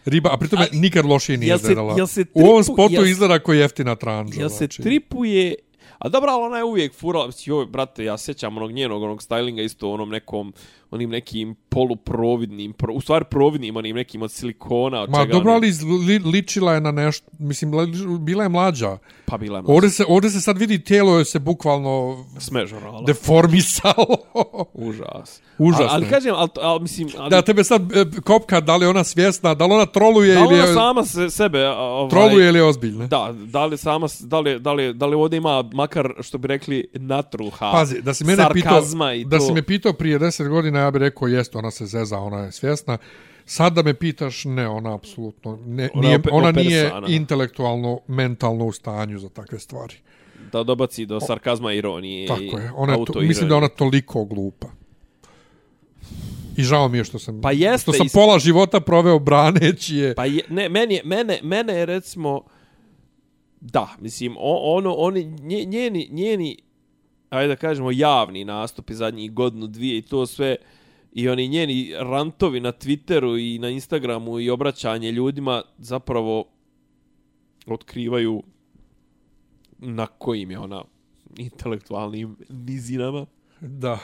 riba, a pritome
Ali,
nikad lošije nije
jel se-
izgledala.
jel se
U ovom
tripu-
spotu
jel se-
izgleda koji jeftina tranža.
Jel se
znači.
tripuje... A dobro, ali ona je uvijek furala, mislim, joj, brate, ja sjećam onog njenog, onog stylinga isto onom nekom, onim nekim poluprovidnim, pro, u stvari providnim onim nekim od silikona, od
Ma
čega
dobro,
ono-
ali izli- li, ličila je na nešto, mislim, li- bila je mlađa.
Pa bila je
Ovdje se, ovdje se sad vidi, tijelo je se bukvalno
smežorala.
deformisalo.
Užas.
Užasno
ono, A, ali
je.
kažem, ali, to- ali mislim... Ali,
da tebe sad e, kopka, da li je ona svjesna, da li ona troluje
da li
ili
ona
je,
sama se, sebe... a, Ovaj,
troluje ili je ozbiljna.
Da, da li sama, s- da li, da li, da li ovdje ima makar, što bi rekli, natruha,
Pazi, da si mene pitao,
sarkazma i
da
to.
si me pitao prije 10 godina, ja bih rekao jest, ona se zeza, ona je svjesna. Sad da me pitaš, ne, ona apsolutno ne,
Ona
ona, nije,
je ope-
ona nije
operisana.
intelektualno, mentalno u stanju za takve stvari.
Da dobaci do sarkazma i ironije. i
Tako je. Ona je to,
autoironije.
mislim da je ona toliko glupa. I žao mi je što sam
Pa jeste,
što sam
isto.
pola života proveo braneći je.
Pa je, ne, meni je, mene, mene je recimo... Da, mislim, o- ono, oni, nje- njeni, njeni, ajde da kažemo, javni nastupi zadnjih godinu, dvije i to sve, i oni njeni rantovi na Twitteru i na Instagramu i obraćanje ljudima zapravo otkrivaju na kojim je ona intelektualnim nizinama.
Da.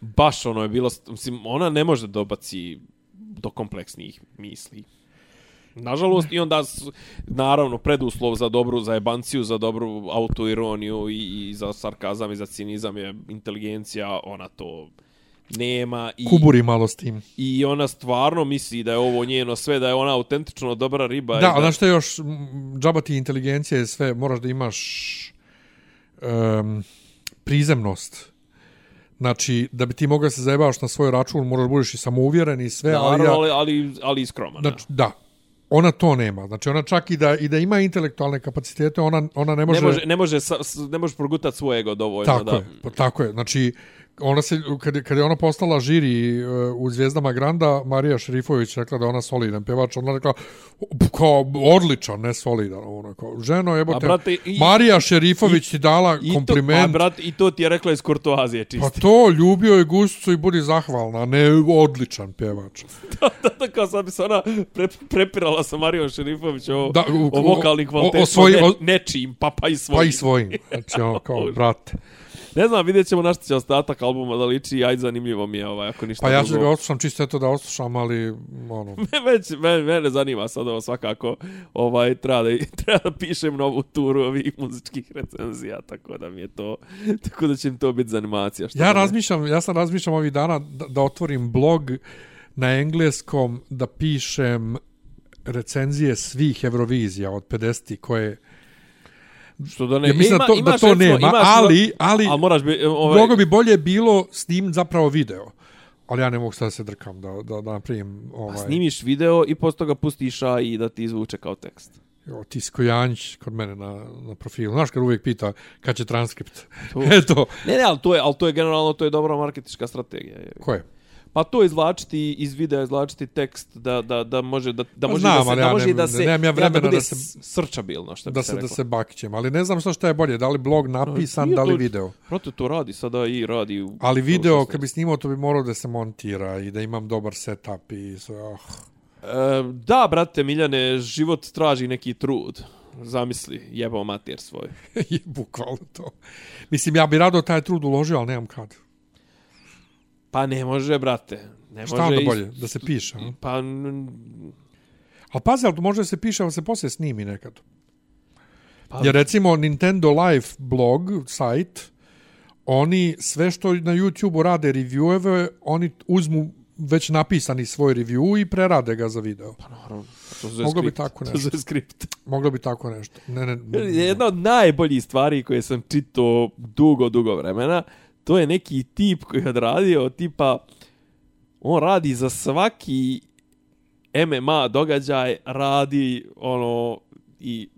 Baš ono je bilo, mislim, ona ne može da dobaci do kompleksnih misli. Nažalost, i onda, s- naravno, preduslov za dobru zajebanciju, za dobru autoironiju i, i za sarkazam i za cinizam je inteligencija, ona to nema i,
Kuburi malo s tim.
i ona stvarno misli da je ovo njeno sve, da je ona autentično dobra riba. Pa i
Da, a znaš što je još, m, džaba ti inteligencija je sve, moraš da imaš um, prizemnost. Znači, da bi ti mogao da se zajebavaš na svoj račun, moraš da budeš i samouvjeren i sve, e, ali,
Naravno,
ja,
ali, ali, ali i skroman.
znači, da, ona to nema. Znači, ona čak i da, i da ima intelektualne kapacitete, ona, ona ne može...
ne može, ne može, sa- s- ne može progutat svoj ego dovoljno.
Tako
da.
je, pa tako je. Znači, ona se, kad, je- kad je ona postala žiri e, u Zvijezdama Granda, Marija Šerifović rekla da je ona solidan pjevač, ona rekla, "P- kao, odličan, ne solidan, ono, kao, ženo, jebote,
A, brate, i-
Marija Šerifović ti dala
I To,
kompliment,
a, brat, I to ti je rekla iz kurtoazije
pa
čisto.
to, ljubio je gusicu i budi zahvalna, a ne odličan pjevač.
da, da, kao sad bi se ona pre, prepirala sa Marijom Šerifović o,
Da, u-
o vokalnim
o- o
kvalitetima
svoj-
ne,
o-
nečijim, pa pa i svojim.
Pa i svojim, znači, ono, kao, brate.
Ne znam, vidjet ćemo na što će ostatak albuma da liči, aj zanimljivo mi je ovaj, ako ništa
Pa ja ću da
drugo.
ga oslušam, čisto eto da oslušam, ali, ono,
Već, mene, mene zanima sad ovo svakako, ovaj, treba da, treba da pišem novu turu ovih muzičkih recenzija, tako da mi je to, tako da će mi to biti zanimacija. Što
Ja
da ne.
razmišljam, ja sam razmišljam ovih dana da, da otvorim blog na engleskom da pišem recenzije svih Eurovizija od 50 koje
Što da ne,
ja mislim
E,
da to, da
imaš,
to
recimo,
nema,
imaš-
ali, ali,
ali moraš bi, ovaj,
mnogo bi bolje bilo s njim zapravo video. Ali ja ne mogu sad da se drkam da, da, da napravim ovaj,
Pa snimiš video i posle toga pustiš AI da ti izvuče kao tekst.
Jo, Tisko Janjić kod mene na, na profilu. Znaš kad uvijek pita kad će transkript.
To.
Eto,
Ne, ne, ali to je, ali to je generalno to je dobra marketička strategija. Je.
ko je?
Pa to izvlačiti iz videa, izvlačiti tekst da, da, da može da, da
Pa
može
znam,
da se,
ali
da
ja
može i
nemam-
da se
nemam ja vremena
da, bude
da se-
srčabilno što bi
Da
se,
se, da
reklo.
se bakćem. Ali ne znam što šta je bolje, da li blog napisan,
Nije
da li
to-
video.
Proto to radi sada i radi. u-
Ali
u
video,
sustavu.
kad bi snimao, to bi morao da se montira i da imam dobar setup i sve. Oh.
E, da, brate Miljane, život traži neki trud. Zamisli, jebao mater svoj.
I bukvalno to. Mislim, ja bi rado taj trud uložio, ali nemam kad.
Pa ne može, brate. Ne
Šta
može
onda
iz-
bolje? Da se piše, a?
Pa n-
Ali pazi, ali može da se piše, ali se poslije snimi nekad.
Pa-
Jer recimo Nintendo Live blog, sajt, oni sve što na YouTube-u rade revieweve, oni uzmu već napisani svoj review i prerade ga za video.
Naravno, to se zove
Moglo bi
skript.
tako
To
nešto.
se zove skript.
Moglo bi tako nešto. Ne, ne, ne.
Jedna od najboljih stvari koje sam čitao dugo, dugo vremena, to je neki tip koji je odradio, tipa, on radi za svaki MMA događaj, radi, ono, i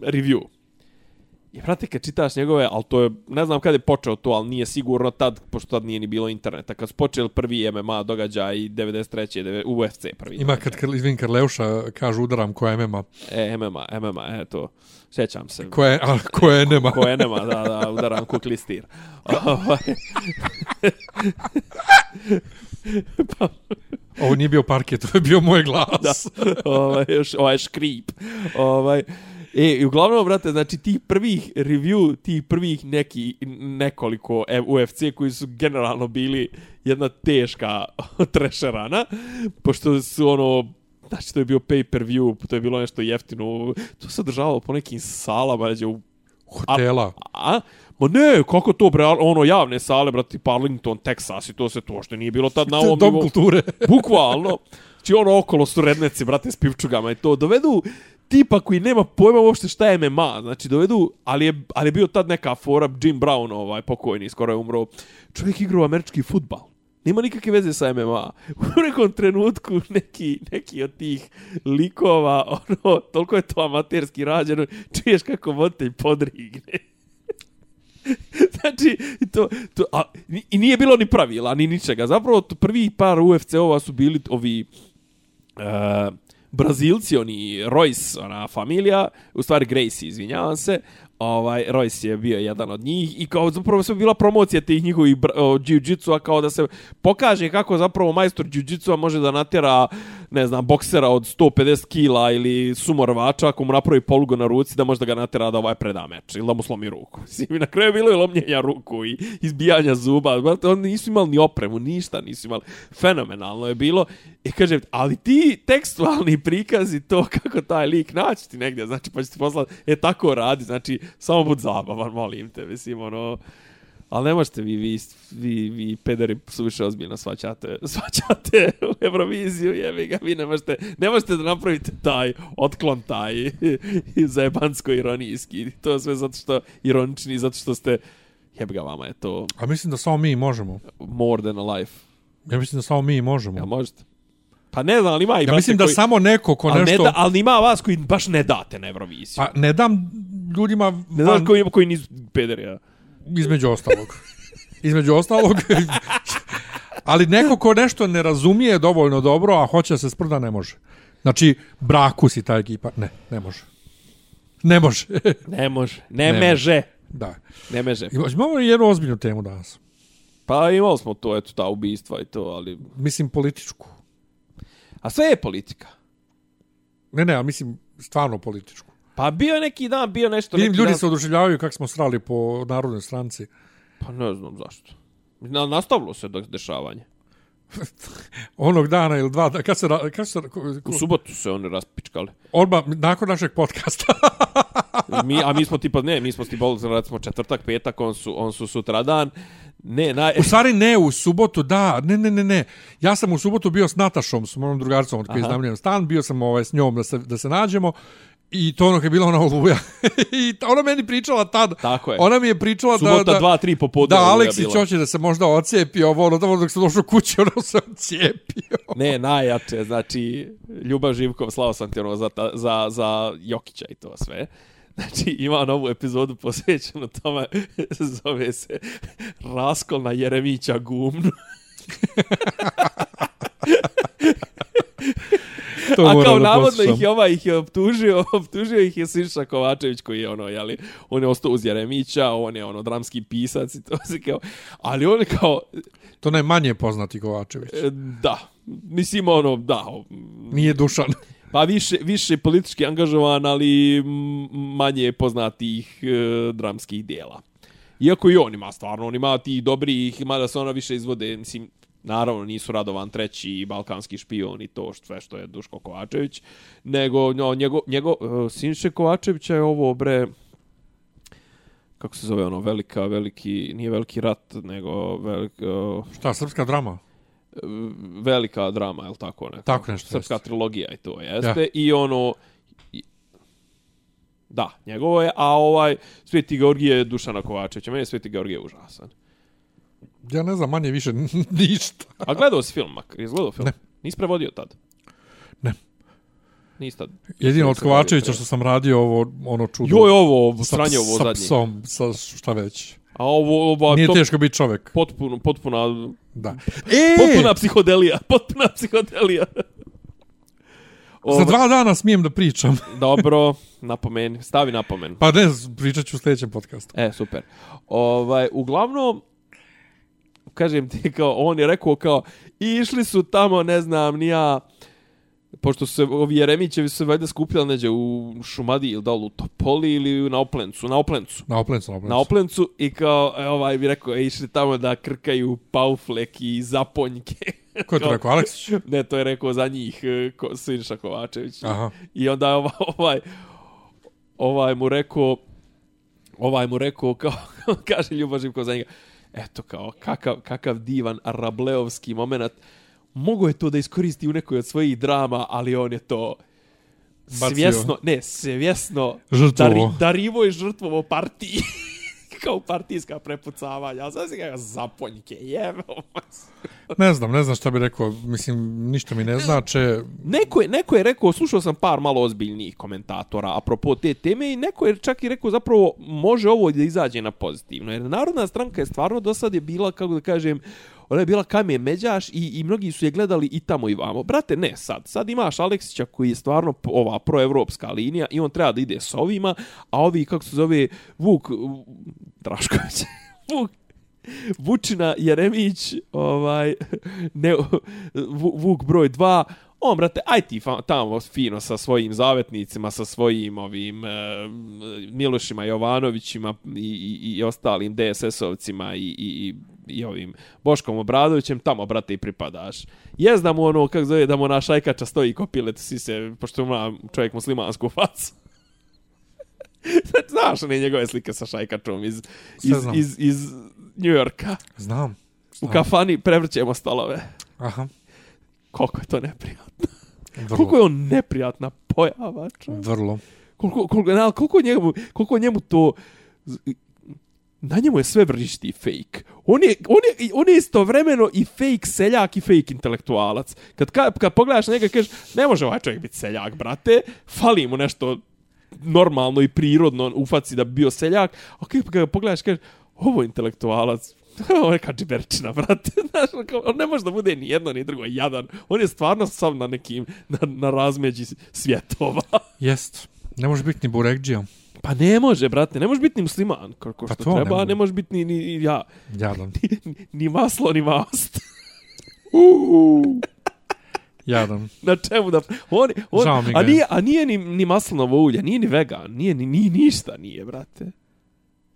review. I brate, kad čitaš njegove, ali to je, ne znam kada je počeo to, ali nije sigurno tad, pošto tad nije ni bilo interneta. Kad su počeli prvi MMA događaj, 93. deve- UFC prvi.
Ima kad, kad izvin Karleuša kaže udaram koja je MMA,
E, MMA, MMA, eto. Sjećam se. Ko,
koja je, a, koja je nema.
ko enema, da, da, udaram ko klistir. Ovaj,
Ovo nije bio parket, to je bio moj glas.
da, ovaj, još, ovaj škrip. Ovaj, E, i uglavnom, brate, znači ti prvih review, ti prvih neki, nekoliko e- UFC koji su generalno bili jedna teška trešerana, pošto su ono, znači to je bio pay per view, to je bilo nešto jeftino, to se održavalo po nekim salama, neđe u
Hotela.
A? Ma ne, kako to, bre, ono, javne sale, brati, Parlington, Texas i to se to, što nije bilo tad na ovom
Dom
nivou.
kulture.
Bukvalno. Znači ono okolo su redneci, brate, s pivčugama i to. Dovedu tipa koji nema pojma uopšte šta je MMA. Znači dovedu, ali je, ali je bio tad neka fora Jim Brown, ovaj pokojni, skoro je umro. Čovjek igrao američki futbal. Nema nikakve veze sa MMA. U nekom trenutku neki, neki od tih likova, ono, toliko je to amaterski rađeno, čuješ kako voditelj podrigne. Znači, to, to, a, ni- i nije bilo ni pravila, ni ničega. Zapravo, to prvi par UFC-ova su bili ovi e, Brazilci, oni Royce, ona familija, u stvari Gracie, izvinjavam se, ovaj, Royce je bio jedan od njih i kao zapravo sve bila promocija tih njihovih bra- o, jiu-jitsu, a kao da se pokaže kako zapravo majstor jiu-jitsu može da natjera, ne znam, boksera od 150 kila ili sumorvača ako mu napravi polugo na ruci da možda ga natjera da ovaj preda meč ili da mu slomi ruku. Mislim, i na kraju je bilo i lomljenja ruku i izbijanja zuba. Brate, oni nisu imali ni opremu, ništa nisu imali. Fenomenalno je bilo. I kaže, ali ti tekstualni prikazi to kako taj lik naći ti negdje, znači pa ću ti poslati, e tako radi, znači samo bud zabavan, molim te, mislim, ono... Ali ne možete vi, vi, vi, vi pederi suviše ozbiljno svaćate, svaćate u Euroviziju, jevi ga, vi ne možete, ne možete da napravite taj otklon taj zajebansko-ironijski. To je sve zato što ironični, zato što ste, jebi ga, vama je to
A mislim da samo mi možemo.
more than a life.
Ja mislim da samo mi možemo.
Ja možete. Pa ne znam, ali ima i
Ja
brate
mislim da
koji,
samo neko ko
ali,
nešto...
ne da, ali ima vas koji baš ne date na Euroviziju.
Pa ne dam ljudima
ne
van,
znaš koji, koji nisu pederi, ja.
između ostalog. između ostalog. ali neko ko nešto ne razumije dovoljno dobro, a hoće da se sprda, ne može. Znači, braku si ta ekipa. Ne, ne može. Ne može.
Ne može, ne,
Ne
meže.
da.
Ne meže.
Imamo jednu ozbiljnu temu danas.
Pa imali smo to, eto, ta ubistva i to, ali
Mislim, političku.
A sve je politika.
Ne, ne, a mislim stvarno političku.
Pa bio je neki dan, bio nešto...
Vidim,
neki
ljudi
dan...
se oduševljavaju kako smo srali po narodnoj stranci.
Pa ne znam zašto. Na, nastavilo se dok dešavanje.
Onog dana ili dva, da- kad se, ra- kad se ra- ko-
U
ko-
subotu se oni raspičkali.
odmah nakon našeg podcasta.
Mi, a mi smo tipa, ne, mi smo tipa, recimo četvrtak, petak, on su, on su sutradan. Ne, na...
U stvari ne, u subotu, da, ne, ne, ne, ne. Ja sam u subotu bio s Natašom, s mojom drugaricom od koje iznamljujem stan, bio sam ovaj, s njom da se, da se nađemo i to ono kad je bila ona oluja. I ta- ona meni pričala tad.
Tako je.
Ona mi je pričala
Subota,
da... da
dva, tri popodne
Da,
oluja
Aleksić
bila.
hoće da se možda ocijepi ovo, ono, da dok sam došao kući, ono se ocijepio.
Ne, najjače, znači, Ljubav Živkov, slao sam ti ono za, ta, za, za Jokića i to sve. Znači, ima novu epizodu posvećenu tome, zove se Raskol na Jeremića gumnu.
To
A
moram
kao
da
navodno
poslušam.
ih je ovaj ih je optužio, optužio ih je Siniša Kovačević koji je ono, jeli, on je ostao uz Jeremića, on je ono dramski pisac i to se kao, ali on kao,
To najmanje poznati Kovačević.
e, da, mislim ono, da,
Nije Dušan.
pa više, više politički angažovan, ali m, manje poznatih e, dramskih dijela. Iako i on ima stvarno, on ima ti dobrih, ima da se ona više izvode, mislim, naravno nisu Radovan treći i balkanski špion i to što, sve što je Duško Kovačević, nego no, njegov, njegov uh, Sinše Kovačevića je ovo, bre, kako se zove ono, velika, veliki, nije veliki rat, nego velik, uh,
Šta, srpska drama?
velika drama, je tako neko?
Tako nešto
Srpska
jeste.
trilogija i to jeste. Ja. I ono... i- Da, njegovo je, a ovaj Sveti Georgije je Dušana Kovačevića. Meni je Sveti Georgije užasan.
Ja ne znam, manje više ništa.
A gledao si film, mak? Jesi gledao film?
Ne.
Nisi prevodio tad?
Ne.
Nisi tad.
Jedino od
Nisam prevodio
Kovačevića
tad.
što sam radio ovo, ono čudo.
Joj, ovo,
Sa-
sranje ovo
sa
zadnje.
psom, sa šta već.
A ovo, ovo,
Nije
to,
teško biti čovjek.
potpuno, potpuna,
Da. E!
potpuna psihodelija, potpuna psihodelija.
Za dva dana smijem da pričam.
Dobro, napomeni, stavi napomenu.
Pa ne, pričat ću u sljedećem podcastu.
E, super. Ovaj, uglavnom, kažem ti, kao, on je rekao kao, išli su tamo, ne znam, nija, Pošto su se ovi Jeremićevi su se valjda skupljali neđe u Šumadi ili dolu u Topoli ili na Oplencu, na Oplencu.
Na oplencu, na oplencu.
Na Oplencu i kao, e, ovaj bi rekao, e, išli tamo da krkaju pauflek i zaponjke.
Ko je to
Kao-
rekao, Aleksić?
ne, to je rekao za njih e, ko, Siniša Kovačević.
Aha.
I onda je ova- ovaj, ovaj mu rekao, ovaj mu rekao, kao, kaže Ljuba Živko za njega, eto kao, kakav, kakav divan rableovski moment, mogo je to da iskoristi u nekoj od svojih drama, ali on je to
Bacio.
svjesno, ne, svjesno
Žrtvovo.
dari- darivo i žrtvovo partiji. kao partijska prepucavanja. Sad si ga zaponjke, jebom.
Ne znam, ne znam šta bi rekao. Mislim, ništa mi ne znače.
Neko je, neko je rekao, slušao sam par malo ozbiljnijih komentatora apropo te teme i neko je čak i rekao zapravo može ovo da izađe na pozitivno. Jer Narodna stranka je stvarno do sad je bila, kako da kažem, ona je bila kamen međaš i, i mnogi su je gledali i tamo i vamo. Brate, ne sad. Sad imaš Aleksića koji je stvarno p- ova proevropska linija i on treba da ide s ovima, a ovi, kako se zove, Vuk, Drašković, Vuk Vučina Jeremić, ovaj, ne, Vu- Vuk broj 2, on, brate, aj ti fa- tamo fino sa svojim zavetnicima, sa svojim ovim e, Milošima Jovanovićima i, i, i ostalim DSS-ovcima i, i, i, i ovim Boškom Obradovićem, tamo, brate, i pripadaš. Jes da mu ono, kako zove, da mu ona šajkača stoji ko pilet sise, pošto ima čovjek muslimansku facu. Znaš one njegove slike sa šajkačom iz, iz,
Sve znam.
iz, iz New Yorka.
Znam.
U
znam.
kafani prevrćemo stolove.
Aha.
Koliko je to neprijatno. Koliko
Vrlo.
je on neprijatna pojava, čovječ.
Vrlo.
Koliko, koliko, na, koliko, njemu, koliko njemu to... Na njemu je sve vrišti fake. On je, on, je, on je istovremeno i fake seljak i fake intelektualac. Kad, kad, kad pogledaš na njega kažeš, ne može ovaj čovjek biti seljak, brate. Fali mu nešto normalno i prirodno u faci da bi bio seljak. A kad ga pogledaš kažeš, ovo je intelektualac, ovo je kačiberčina, brate. Znaš, on kao- on ne može da bude ni jedno ni drugo, jadan. On je stvarno sam na nekim, na, na razmeđi svjetova.
Jest. Ne može biti ni Burekđija.
Pa ne može, brate, ne može biti ni musliman, kako
Pa
što
to ne
treba, ne,
može.
može biti ni, ni ja,
Jadan.
ni maslo, ni mast.
Jadan.
Na čemu da... On, on,
Žao mi ga
a,
je.
nije, a nije ni, ni maslinovo ulje, nije ni vegan, nije ni, ni ništa nije, brate.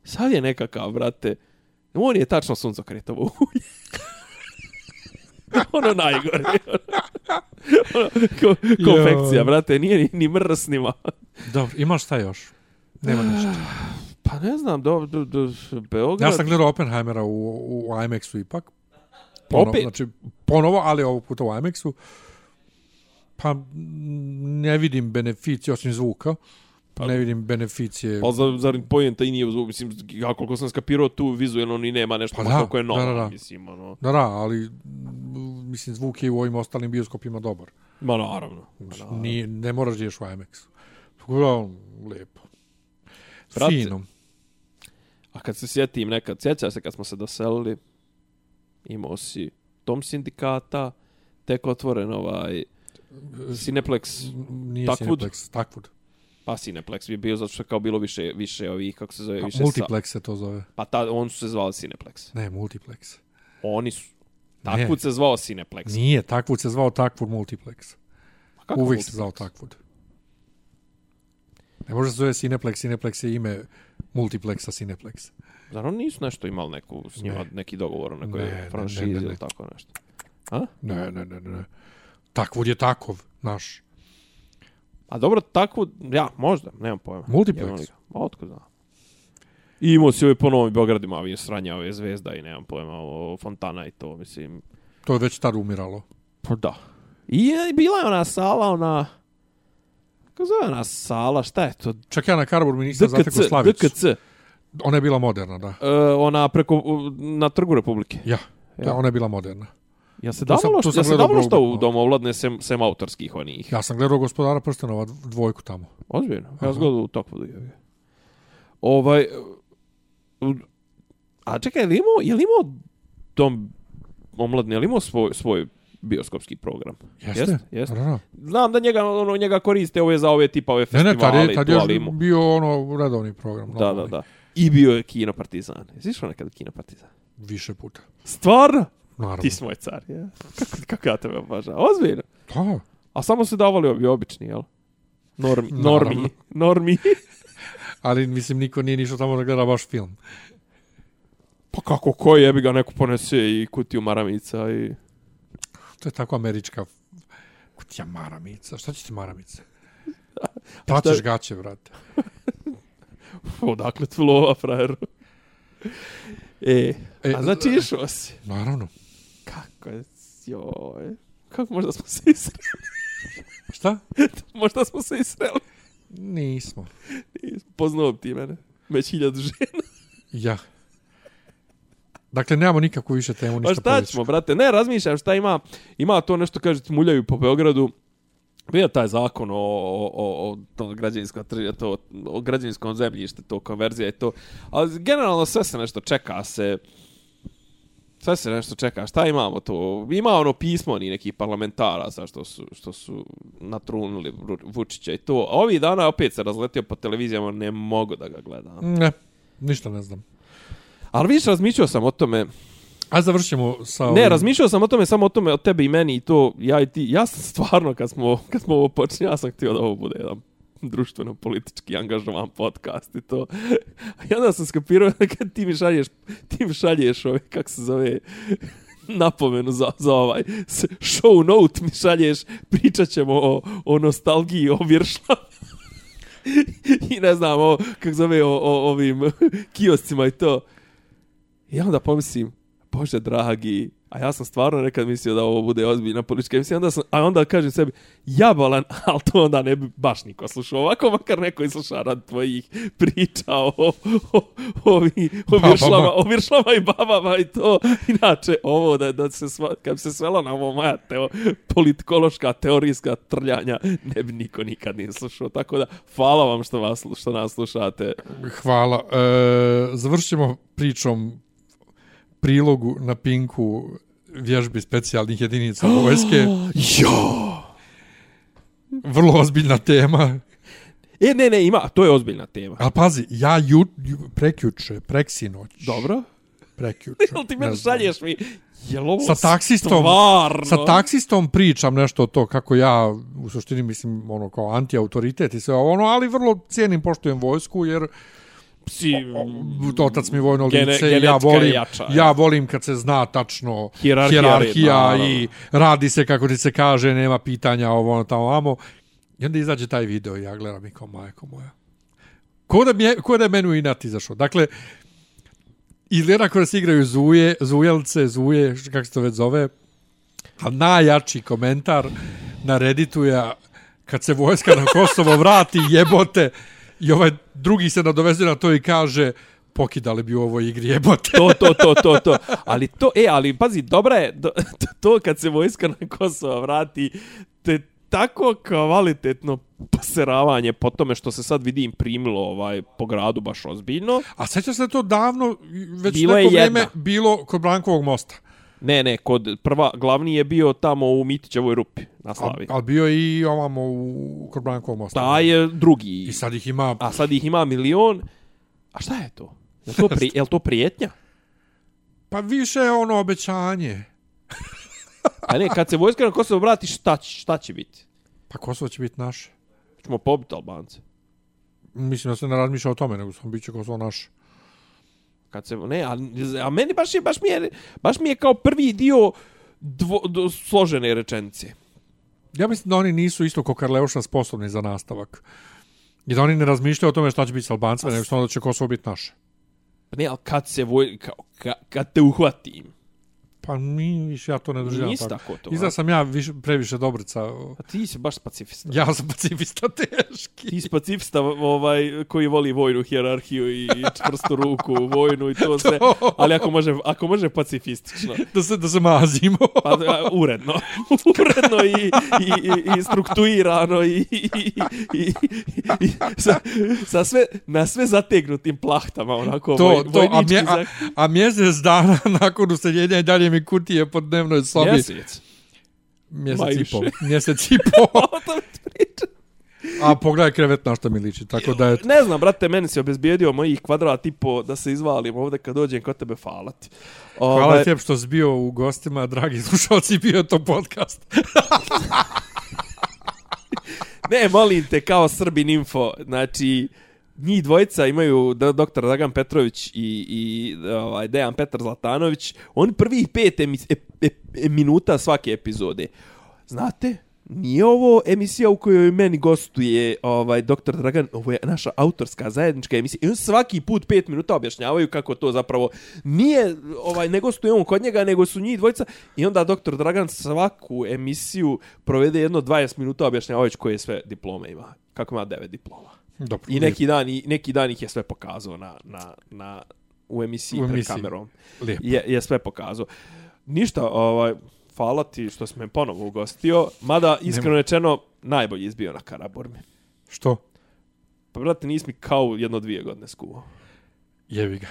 Sad je nekakav, brate, on je tačno suncokretovo ulje. ono najgore. ono, ko, konfekcija, brate, nije ni, ni mrs, ni ma.
Dobro, imaš šta još?
Ah,
Nema ništa.
Pa ne znam, do, do, do Beograd...
Ja sam gledao Oppenheimera u, u IMAX-u ipak.
Opet?
Znači, ponovo, ali ovog puta u IMAX-u. Pa m, ne vidim beneficije osim zvuka. Pa, ne vidim beneficije.
Pa zar, zar pojenta i nije, uz- mislim, ja koliko sam skapirao tu vizuelno ni nema nešto,
Pa
pa
da,
koliko je nova,
da, da, da.
mislim, ono.
Da, da, ali m, mislim zvuk je i u ovim ostalim bioskopima dobar.
Ma naravno. Ma naravno.
Ni, ne moraš da ješ u IMAX-u. Uglavnom, lijepo.
Brate.
Fino.
A kad se sjetim nekad, sjećaš se kad smo se doselili, imao si tom sindikata, tek otvoren ovaj Cineplex,
Nije
Takvud?
Cineplex, Takvud.
pa Cineplex bi bio zato što je kao bilo više, više ovih, kako se zove,
A,
više sa,
Multiplex se to zove.
pa ta, on su se zvali Cineplex.
Ne, Multiplex.
Oni su,
Ne.
takvud se zvao Cineplex.
Nije, Takvud se zvao Takvud Multiplex.
Pa kako
Uvijek
multi-
se zvao Takvud. Ne može se zove Cineplex, Cineplex je ime Multiplexa Cineplex.
Zar oni nisu nešto imali neku, s njima
Ne.
neki dogovor o nekoj
Ne, ne, ne,
franšizi
ne, ne.
ili tako nešto?
Ne, ne, ne, ne. ne. Takvud je takov, naš.
A dobro, tako, ja, možda, nemam pojma.
Multiplex.
Jebem li ga. Ma, otko znam. I imao si ovaj po Novom Beogradu, ima ovih sranja, ove zvezda i nemam pojma, o fontana i to, mislim.
To je već tad umiralo.
Pa da. I je, bila je ona sala, ona... Kako zove ona sala, šta je to?
Čak ja na Karboru mi nisam
DKC,
zatekao Slavicu.
DKC. E,
Ona je bila moderna, da.
ona preko, u, na Trgu Republike.
Ja,
Ja.
ja. ona je bila moderna.
Ja se
Tu sam- tu
davalo što,
sam
ja se
gledao
davalo što
Brogu,
u
no.
domu ovladne sem, sem autorskih onih.
Ja sam gledao gospodara prstenova dv- dvojku tamo.
Ozbiljno, ja
Aha.
zgodu u Tokvudu je. Ovaj, u- a čekaj, je li imao, je li imao dom omladne, je li imao svoj, svoj bioskopski program? Jeste, jeste.
Da, da.
Znam da njega, ono, njega koriste ove za ove tipa ove
Ne,
festivale,
ne, tad je,
i
tad
tu,
je
ali imao.
bio ono redovni program.
Da, da,
normalni.
da. I bio je Kino Partizan. Jesi išao nekad u Kino Partizan?
Više puta.
Stvarno?
Naravno.
Ti si moj car, ja. Kako, kako ja tebe obožavam. Ozbiljno.
Da,
A samo se davali ovi obični, jel? Normi, normi,
Naravno.
normi.
Ali, mislim, niko nije nišao tamo da gleda baš film.
Pa kako ko jebi ga neko ponese i kutiju maramica i...
To je tako američka kutija maramica. Šta će ti maramice? Plaćaš gaće, brate.
Odakle tu lova, frajeru? E,
E,
a znači išao si.
Naravno.
Kako je, joj. Kako možda smo se isreli?
Šta?
možda smo se isreli.
Nismo.
Poznao bi ti mene. Već hiljadu žena.
Ja. Dakle, nemamo nikakvu više temu,
Pa
ništa
šta
povijest.
ćemo, brate? Ne, razmišljam šta ima. Ima to nešto, kažete, muljaju po Beogradu. Bio taj zakon o, o, o, o, to građevinsko, tri- to, o građevinskom zemljištu, to konverzija i to. Ali generalno sve se nešto čeka se. Sve se nešto čeka. Šta imamo to? Ima ono pismo oni nekih parlamentara sa što su, što su natrunuli Vru- Vučića i to. A ovih dana opet se razletio po televizijama, ne mogu da ga gledam.
Ne, ništa ne znam.
Ali viš, razmišljao sam o tome,
A završimo sa...
Ne,
ovim-
razmišljao sam o tome, samo o tome, o tebi i meni i to, ja i ti. Ja sam stvarno, kad smo, kad smo ovo počeli, ja sam htio da ovo bude jedan društveno-politički angažovan podcast i to. I onda sam skapirao da kad ti mi šalješ, ti mi šalješ ove, kako se zove, napomenu za, za ovaj s- show note mi šalješ, pričat ćemo o, o nostalgiji, o vjeršlavama i ne znam, o, kako zove, o, o ovim kioscima i to. I onda pomislim, bože dragi, a ja sam stvarno nekad mislio da ovo bude ozbiljna politička emisija, onda sam, a onda kažem sebi, jabalan, ali to onda ne bi baš niko slušao, ovako makar neko i sluša rad tvojih priča o, o, o, ovi, o,
Babama.
viršlama, o viršlama i babama i to. Inače, ovo da, da se, sva, kad bi se svelo na ovo moja teo, politikološka, teorijska trljanja, ne bi niko nikad nije slušao. Tako da, hvala vam što, vas, slu- što nas slušate.
Hvala. E, završimo pričom prilogu na Pinku vježbi specijalnih jedinica vojske.
Jo!
Vrlo ozbiljna tema.
E, ne, ne, ima, to je ozbiljna tema.
Ali pazi, ja ju, ju, prekjuče, preksinoć.
Dobro.
Prekjuče.
Jel ti
ne
meni
znam.
šalješ mi? Jel
Sa
ovo
taksistom,
stvarno?
sa taksistom pričam nešto o to kako ja u suštini mislim ono kao antiautoritet i sve ono, ali vrlo cijenim, poštujem vojsku jer
Si,
to otac mi je vojno
Gene-
lice, i ja
genetska je
volim,
jača, je.
ja volim kad se zna tačno
Hijerarhija
hijerarhija
redna,
i radi se kako ti se kaže, nema pitanja ovo ono tamo vamo. I onda izađe taj video i ja gledam i kao majko moja. Ko da, mi je, ko da je meni u inat izašao? Dakle, izgleda kao da se igraju zuje, zujelce, zuje, š- kako se to već zove. A najjači komentar na Redditu je kad se vojska na Kosovo vrati, jebote. I ovaj drugi se nadoveze na to i kaže pokidali bi u ovoj igri jebote.
to, to, to, to, to. Ali to, e, ali pazi, dobra je, do, to, to kad se vojska na Kosova vrati, te tako kvalitetno poseravanje po tome što se sad vidim primilo ovaj po gradu baš ozbiljno.
A sećaš se da je to davno, već
Bilo je
neko
jedna.
vrijeme, bilo kod Brankovog mosta.
Ne, ne, kod prva, glavni je bio tamo u Mitićevoj rupi na Slavi.
Ali bio je i ovamo u, kod Brankovog mosta.
Ta je drugi.
I sad ih ima...
A sad ih ima milion. A šta je to? Je to, pri, je to prijetnja?
Pa više je ono obećanje.
A ne, kad se vojska na Kosovo vrati, šta, će- šta će biti?
Pa Kosovo će biti naše.
Ćemo pobiti Albance.
Mislim da se ne razmišlja o tome, nego sam bit će Kosovo naše.
Kad se, ne, a, a meni baš, je, baš, mi je, baš mi je kao prvi dio dvo, do, složene rečenice.
Ja mislim da oni nisu isto ko Karleuša sposobni za nastavak. I da oni ne razmišljaju o tome šta će biti s Albancima, nego samo da će Kosovo biti naše.
Pa ne, ali kad se voj, kao, ka, kad te uhvatim.
Pa mi više ja pa. to ne doživljam
Nisi tako to, Pa-
Izgleda
a?
sam ja više, previše dobrica.
A ti si baš pacifista.
Ja sam pacifista teški.
Ti si pacifista ovaj, koji voli vojnu hijerarhiju i čvrstu ruku, vojnu i to sve. Ali ako može, ako može pacifistično.
Da se, da se mazimo.
Pa a, uredno. uredno i, i, i, i strukturirano i, i, i, i sa, sa sve, na sve zategnutim plahtama, onako to, voj,
to, to, a,
vojnički
mje, a,
zak-
a mjesec dana nakon useljenja i dalje mi kutije po dnevnoj sobi.
Mjesec. Ma
Mjesec i
više.
pol. Mjesec i pol.
O tome ti pričam.
A pogledaj krevet na šta mi liči. Tako da je
Ne znam, brate, meni se obezbijedio mojih kvadrat i po da se izvalim ovde kad dođem kod tebe falati. Ovaj,
Hvala ti što si bio u gostima, dragi slušalci, bio je to podcast.
Ne, molim te, kao Srbin info, znači, njih dvojica imaju da, doktor Dragan Petrović i, i ovaj, Dejan Petar Zlatanović, oni prvih pet emis, e, e, e, minuta svake epizode. Znate, nije ovo emisija u kojoj meni gostuje ovaj doktor Dragan, ovo je naša autorska zajednička emisija. I on svaki put 5 minuta objašnjavaju kako to zapravo nije ovaj ne gostuje on kod njega, nego su njih dvojica i onda doktor Dragan svaku emisiju provede jedno 20 minuta objašnjavajući koje sve diplome ima. Kako ima devet diploma.
Dobro.
I neki dan, i, neki dan ih je sve pokazao na, na, na, u emisiji,
U
u emisiji. pred
emisiji.
kamerom.
Lijepo.
Je, je sve pokazao. Ništa, ovaj, hvala ti što si me ponovo ugostio, mada iskreno rečeno najbolji izbio na Karabormi.
Što?
Pa brate, nisi mi kao jedno dvije godine skuvao.
Jevi ga.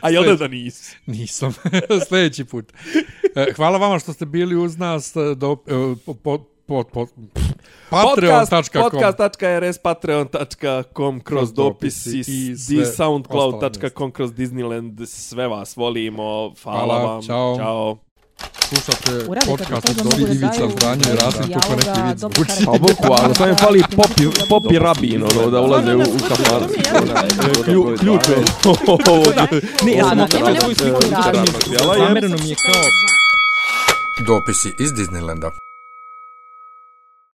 A jel da da nisi?
Nisam. Sljedeći put. E, Hvala vama što ste bili uz nas. e, Do, e, po, po, po, po, pff, Patreon.com
Podcast.rs, patreon.com, kroz
Kroz dopisi
dopisi,
i
s-
sve
di-
ostalo
soundcloud.com, kroz Disneyland, sve vas volimo, hvala,
Hvala,
vam,
čao.
čao.
Slušate
Uradite
podcast
to,
od
da mogu
Dobri
da
Ivica
daju
Zdranje i Rasim
dijaloga,
Tukonekti Vic
dobrog
Zvuči.
karaktera.
Pa boku, ali sam im fali popi, popi rabin, ono, da ulaze u, u kafan. Klju, ključ je.
Ne, ja sam
Da,
opet
nema
razvoj
nemoj
svih ovih
da.
radnih.
Jela je.
Zamereno mi je kao
Dopisi iz Disneylanda.